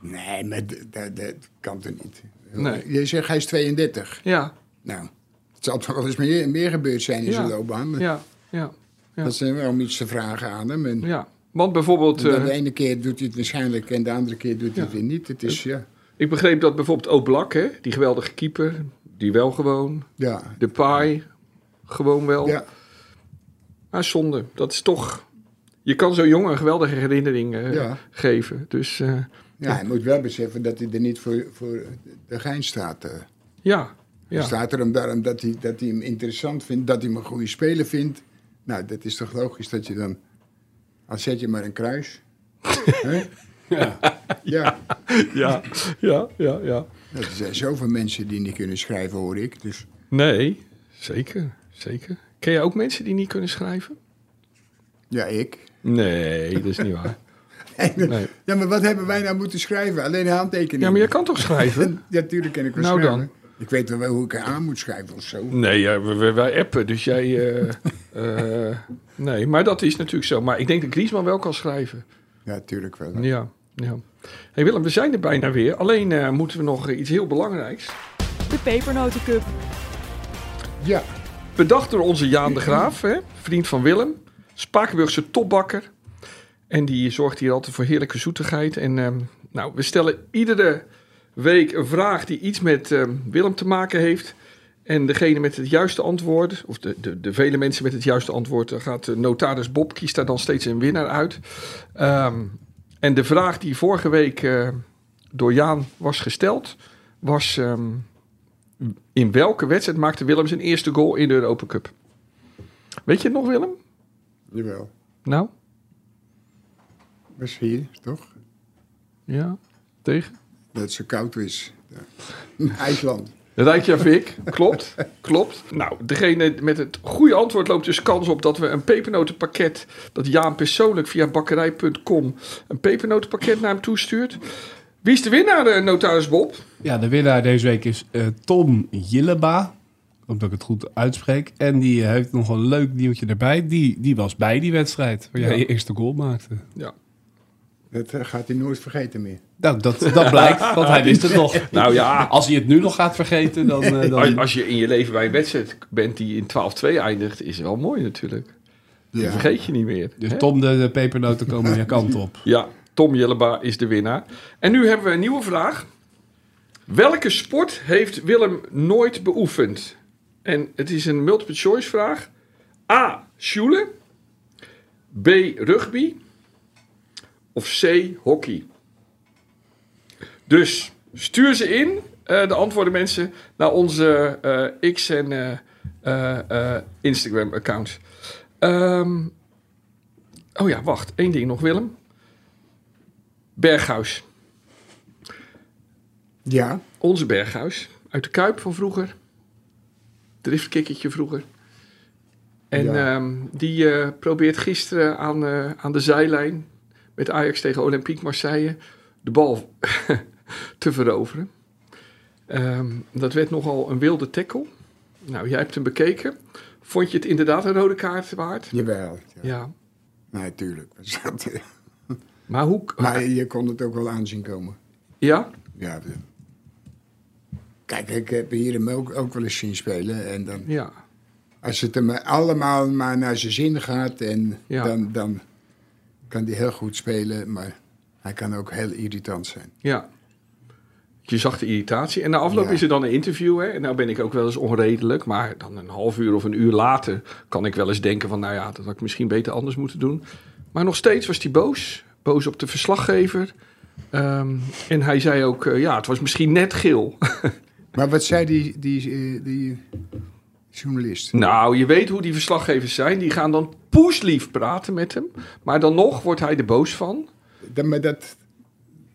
B: nee, maar d- dat, dat kan toch niet.
C: Nee.
B: Je zegt hij is 32.
C: Ja.
B: Nou, het zal toch wel eens meer, meer gebeurd zijn in
C: Ja.
B: zijn loopbaan. maar
C: Ja. Ja. ja.
B: Dat zijn wel om iets te vragen aan hem. En,
C: Ja. Want bijvoorbeeld...
B: en dan
C: eh,
B: de ene keer doet hij het waarschijnlijk en de andere keer doet hij het weer niet. Het is, ja.
C: ik begreep dat bijvoorbeeld Oblak, hè, die geweldige keeper... die wel gewoon...
B: Ja.
C: De paai, gewoon wel.
B: ja.
C: Maar Ah, zonde, dat is toch... Je kan zo'n jongen een geweldige herinnering eh,
B: Ja.
C: geven. Dus eh,
B: Ja, hij moet wel beseffen dat hij er niet voor, voor de gein staat. eh.
C: ja, ja.
B: Staat Dus er hem daarom dat hij, dat hij hem interessant vindt, dat hij hem een goede speler vindt. Nou, dat is toch logisch dat je dan... Al zet je maar een kruis. Hè? ja. Ja.
C: ja, ja, ja, ja.
B: er zijn zoveel mensen die niet kunnen schrijven, hoor ik. Dus
C: Nee, zeker, zeker. Ken jij ook mensen die niet kunnen schrijven?
B: ja, ik.
C: Nee, dat is niet waar. Nee.
B: Ja, maar wat hebben wij nou moeten schrijven? Alleen handtekeningen.
C: Ja, maar je kan toch schrijven?
B: Ja, natuurlijk ken ik wel
C: Nou dan.
B: schrijven. Ik weet wel hoe ik er aan moet schrijven of zo.
C: Nee, ja, we- we- wij appen, dus jij... eh, eh, nee, maar dat is natuurlijk zo. Maar ik denk dat Griezmann wel kan schrijven.
B: Ja, natuurlijk wel.
C: Ja, ja. hey Willem, we zijn er bijna weer. Alleen eh, moeten we nog eh, iets heel belangrijks.
D: De Pepernotencup.
B: Ja,
C: Bedacht door onze Jaan de Graaf, hè? vriend van Willem. Spakenburgse topbakker. En die zorgt hier altijd voor heerlijke zoetigheid. En ehm, nou, we stellen iedere week een vraag die iets met ehm, Willem te maken heeft. En degene met het juiste antwoord, of de, de, de vele mensen met het juiste antwoord, dan gaat de notaris Bob, kiest daar dan steeds een winnaar uit. Ehm, en de vraag die vorige week eh, door Jaan was gesteld, was... ehm, in welke wedstrijd maakte Willem zijn eerste goal in de Europa Cup? Weet je het nog, Willem?
B: jawel.
C: Nou,
B: Was hier, toch?
C: ja. Tegen?
B: Dat het zo koud is. Ja. IJsland.
C: Rijkjavik, klopt, klopt. Nou, degene met het goede antwoord loopt dus kans op dat we een pepernotenpakket... dat Jaan persoonlijk via bakkerij.com een pepernotenpakket naar hem toestuurt. Wie is de winnaar, eh, notaris Bob?
F: Ja, de winnaar deze week is eh, Tom Jilleba. Ik hoop dat ik het goed uitspreek. En die eh, heeft nog een leuk nieuwtje erbij. Die, die was bij die wedstrijd waar jij
C: Ja.
F: je eerste goal maakte.
C: Ja.
B: Dat eh, gaat hij nooit vergeten meer.
F: Nou, dat, dat blijkt, want hij wist het nog.
C: Nou ja,
F: Als hij het nu nog gaat vergeten, dan... eh, dan...
C: als, als je in je leven bij een wedstrijd bent die in 12-2 eindigt... is wel mooi natuurlijk.
B: Ja.
C: Dat vergeet je niet meer.
F: Dus
C: hè?
F: Tom, de, de pepernoten komen je kant op.
C: Ja, Tom Jelleba is de winnaar. En nu hebben we een nieuwe vraag. Welke sport heeft Willem nooit beoefend? En het is een multiple choice vraag. A. Sjoelen. B. Rugby. Of C. Hockey. Dus stuur ze in, eh, de antwoorden mensen, naar onze eh, X- en eh, eh, eh, Instagram-account. Ehm, oh ja, wacht. Eén ding nog, Willem. Berghuis.
B: Ja,
C: Onze Berghuis. Uit de Kuip van vroeger. Driftkikkertje vroeger. En
B: Ja.
C: ehm, die eh, probeert gisteren aan, eh, aan de zijlijn... met Ajax tegen Olympique Marseille... de bal te veroveren. Ehm, dat werd nogal een wilde tackle. Nou, jij hebt hem bekeken. Vond je het inderdaad een rode kaart waard?
B: jawel. Ja.
C: Ja.
B: Nee, tuurlijk.
C: Maar hoe...
B: Maar je kon het ook wel aanzien komen.
C: Ja?
B: Ja. de- Kijk, ik heb hier hem ook, ook wel eens zien spelen. En dan,
C: Ja.
B: als het hem allemaal maar naar zijn zin gaat, en
C: Ja.
B: dan, dan kan hij heel goed spelen. Maar hij kan ook heel irritant zijn.
C: Ja. Je zag de irritatie. En na afloop
B: Ja.
C: is er dan een interview. Hè? En nou ben ik ook wel eens onredelijk. Maar dan een half uur of een uur later kan ik wel eens denken van... nou ja, dat had ik misschien beter anders moeten doen. Maar nog steeds was hij boos. Boos op de verslaggever. Ehm, en hij zei ook, eh, ja, het was misschien net geel.
B: Maar wat zei die, die, eh, die journalist?
C: Nou, je weet hoe die verslaggevers zijn. Die gaan dan poeslief praten met hem. Maar dan nog wordt hij er boos van.
B: Dat, maar dat,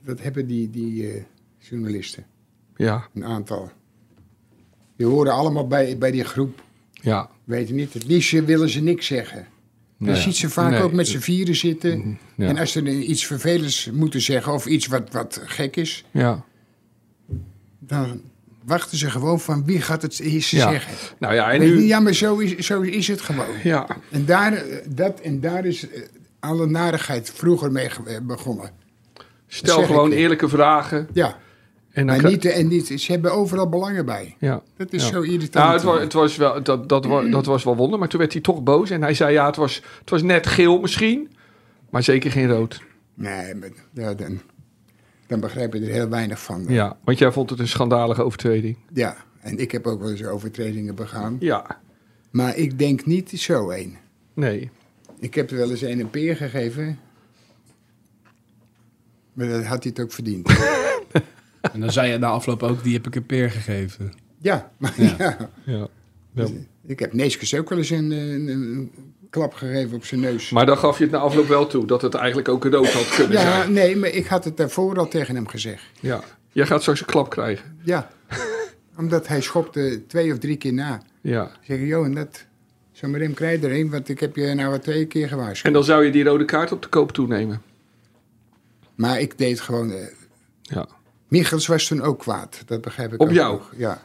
B: dat hebben die, die eh, journalisten,
C: Ja,
B: een aantal. Die horen allemaal bij, bij die groep.
C: ja.
B: Weet je niet, het liefst willen ze niks zeggen.
C: Nee.
B: Je ziet ze vaak
C: Nee. Mhm,
B: ook met z'n vieren zitten.
C: Ja.
B: En als ze iets vervelends moeten zeggen of iets wat, wat gek is,
C: Ja.
B: dan wachten ze gewoon van wie gaat het eerst
C: Ja.
B: zeggen.
C: Nou ja, en
B: Weet je niet,
C: nu...
B: ja, maar zo is, zo is het gewoon.
C: Ja,
B: En daar, eh, dat, en daar is eh, alle narigheid vroeger mee ge- eh, begonnen.
C: stel
B: zeg ik
C: gewoon
B: je.
C: eerlijke vragen.
B: Ja,
C: En dan
B: maar
C: kan-
B: niet, eh, en niet, ze hebben overal belangen bij.
C: Ja.
B: Dat is
C: Ja.
B: zo irritant.
C: Nou, het was, het was wel, dat, dat, wa- dat was wel wonder, maar toen werd hij toch boos. En hij zei, ja, het was, het was net geel misschien, maar zeker geen rood.
B: Nee, maar, ja, dan, dan begrijp je er heel weinig van. Ja.
C: Ja, want jij vond het een schandalige overtreding.
B: en ik heb ook wel eens overtredingen begaan.
C: Ja,
B: Maar ik denk niet zo één.
C: nee.
B: Ik heb er wel eens een een peer gegeven. Maar dat had hij het ook verdiend.
F: En dan zei je na afloop ook, die heb ik een peer gegeven.
B: ja, maar ja.
C: Ja. Ja.
B: Ik heb Neeskens ook wel eens een, een, een klap gegeven op zijn neus.
C: Maar dan gaf je het na afloop wel toe, dat het eigenlijk ook een rood had kunnen
B: ja,
C: zijn.
B: nee, maar ik had het daarvoor al tegen hem gezegd.
C: Ja. Jij gaat straks een klap krijgen.
B: Ja, omdat hij schopte twee of drie keer na.
C: Ja.
B: Zeg ik, joh, net zo met hem krijg je er een, want ik heb je nou al twee keer gewaarschuwd.
C: En dan zou je die rode kaart op de koop toenemen.
B: Maar ik deed gewoon... eh,
C: Ja.
B: Michels was toen ook kwaad, dat begrijp ik
C: Op
B: ook
C: jou?
B: nog. Ja,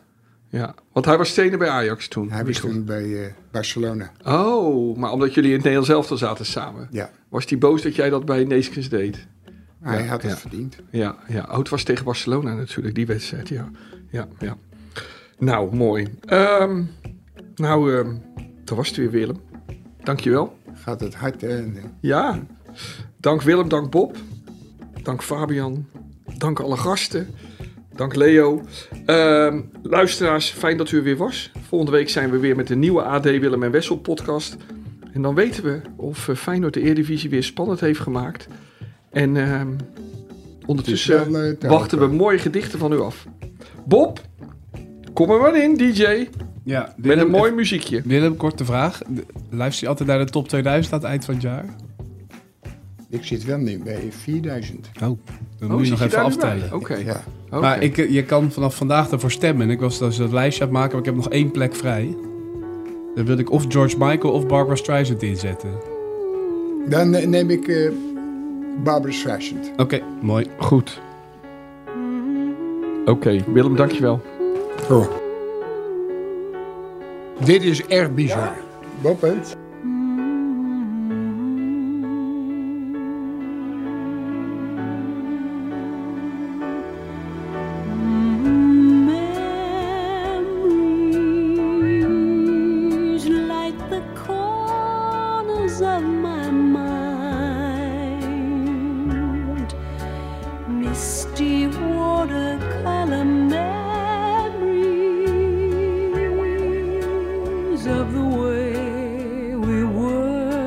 C: ja. Want hij was stenen bij Ajax toen.
B: hij was toen bij eh, Barcelona.
C: Oh, maar omdat jullie in het Nederlands elftal zaten samen.
B: Ja,
C: Was hij boos dat jij dat bij Neeskens deed?
B: hij had het
C: ja.
B: verdiend.
C: Ja, ja. Oh, het was tegen Barcelona natuurlijk, die wedstrijd. Ja, ja, ja. Nou, mooi. Ehm, nou, ehm dat was het weer, Willem. Dankjewel.
B: Gaat het hard, hè? En, eh,
C: Ja. Dank Willem, dank Bob. Dank Fabian. Dank alle gasten. Dank Leo. Ehm, luisteraars, fijn dat u er weer was. Volgende week zijn we weer met een nieuwe AD Willem en Wessel podcast. En dan weten we of eh, Feyenoord de Eredivisie weer spannend heeft gemaakt. En ehm, ondertussen
B: wel, eh, te
C: wachten we
B: hopen.
C: mooie gedichten van u af. Bob, kom er maar in, DJ.
F: Ja,
C: Met een mooi muziekje.
F: Willem, korte vraag. De- Luister je altijd naar de top 2000 aan het eind van het jaar?
B: Ik zit wel nu bij 4000.
F: Oh, dan
C: Oh,
F: moet je
C: zit
F: nog
C: je
F: even
C: daar nu bij?
F: aftellen.
C: Oké.
B: Ja.
C: oké.
F: Maar ik, eh, je kan vanaf vandaag daarvoor stemmen. En ik was dus dat lijstje aan het maken, maar ik heb nog één plek vrij. Dan wil ik of George Michael of Barbara Streisand inzetten.
B: Dan eh, neem ik eh Barbara Streisand.
F: Oké, mooi.
C: Goed. Oké, Willem, dankjewel.
B: Dit is echt bizar. Bob, hè?
I: Memories light the corners of my mind. Misty watercolor memories of the way we were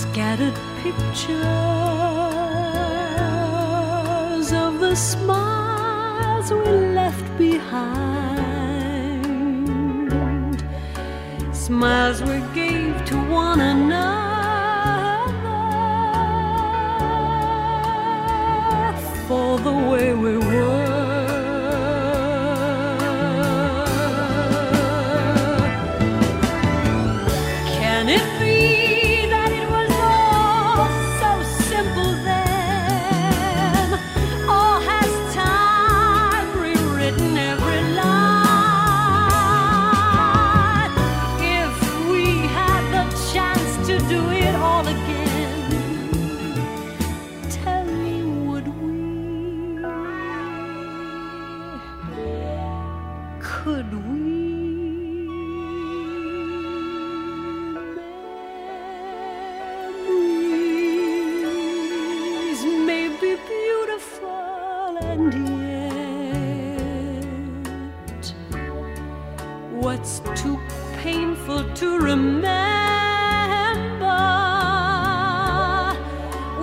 I: scattered pictures of the smiles we left behind, smiles we gave to one another for the way we were. Can it be that it was all so simple then? Or has time rewritten every line? If we had the chance to do it all again, to remember.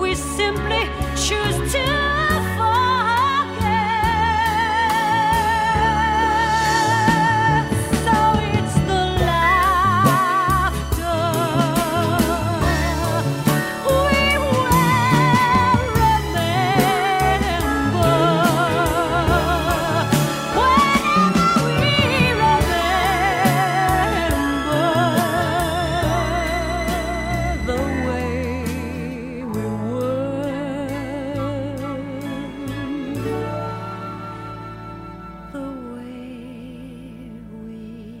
I: We simply choose to forget. So it's the laughter we will remember. Whenever we remember the way we were, the way we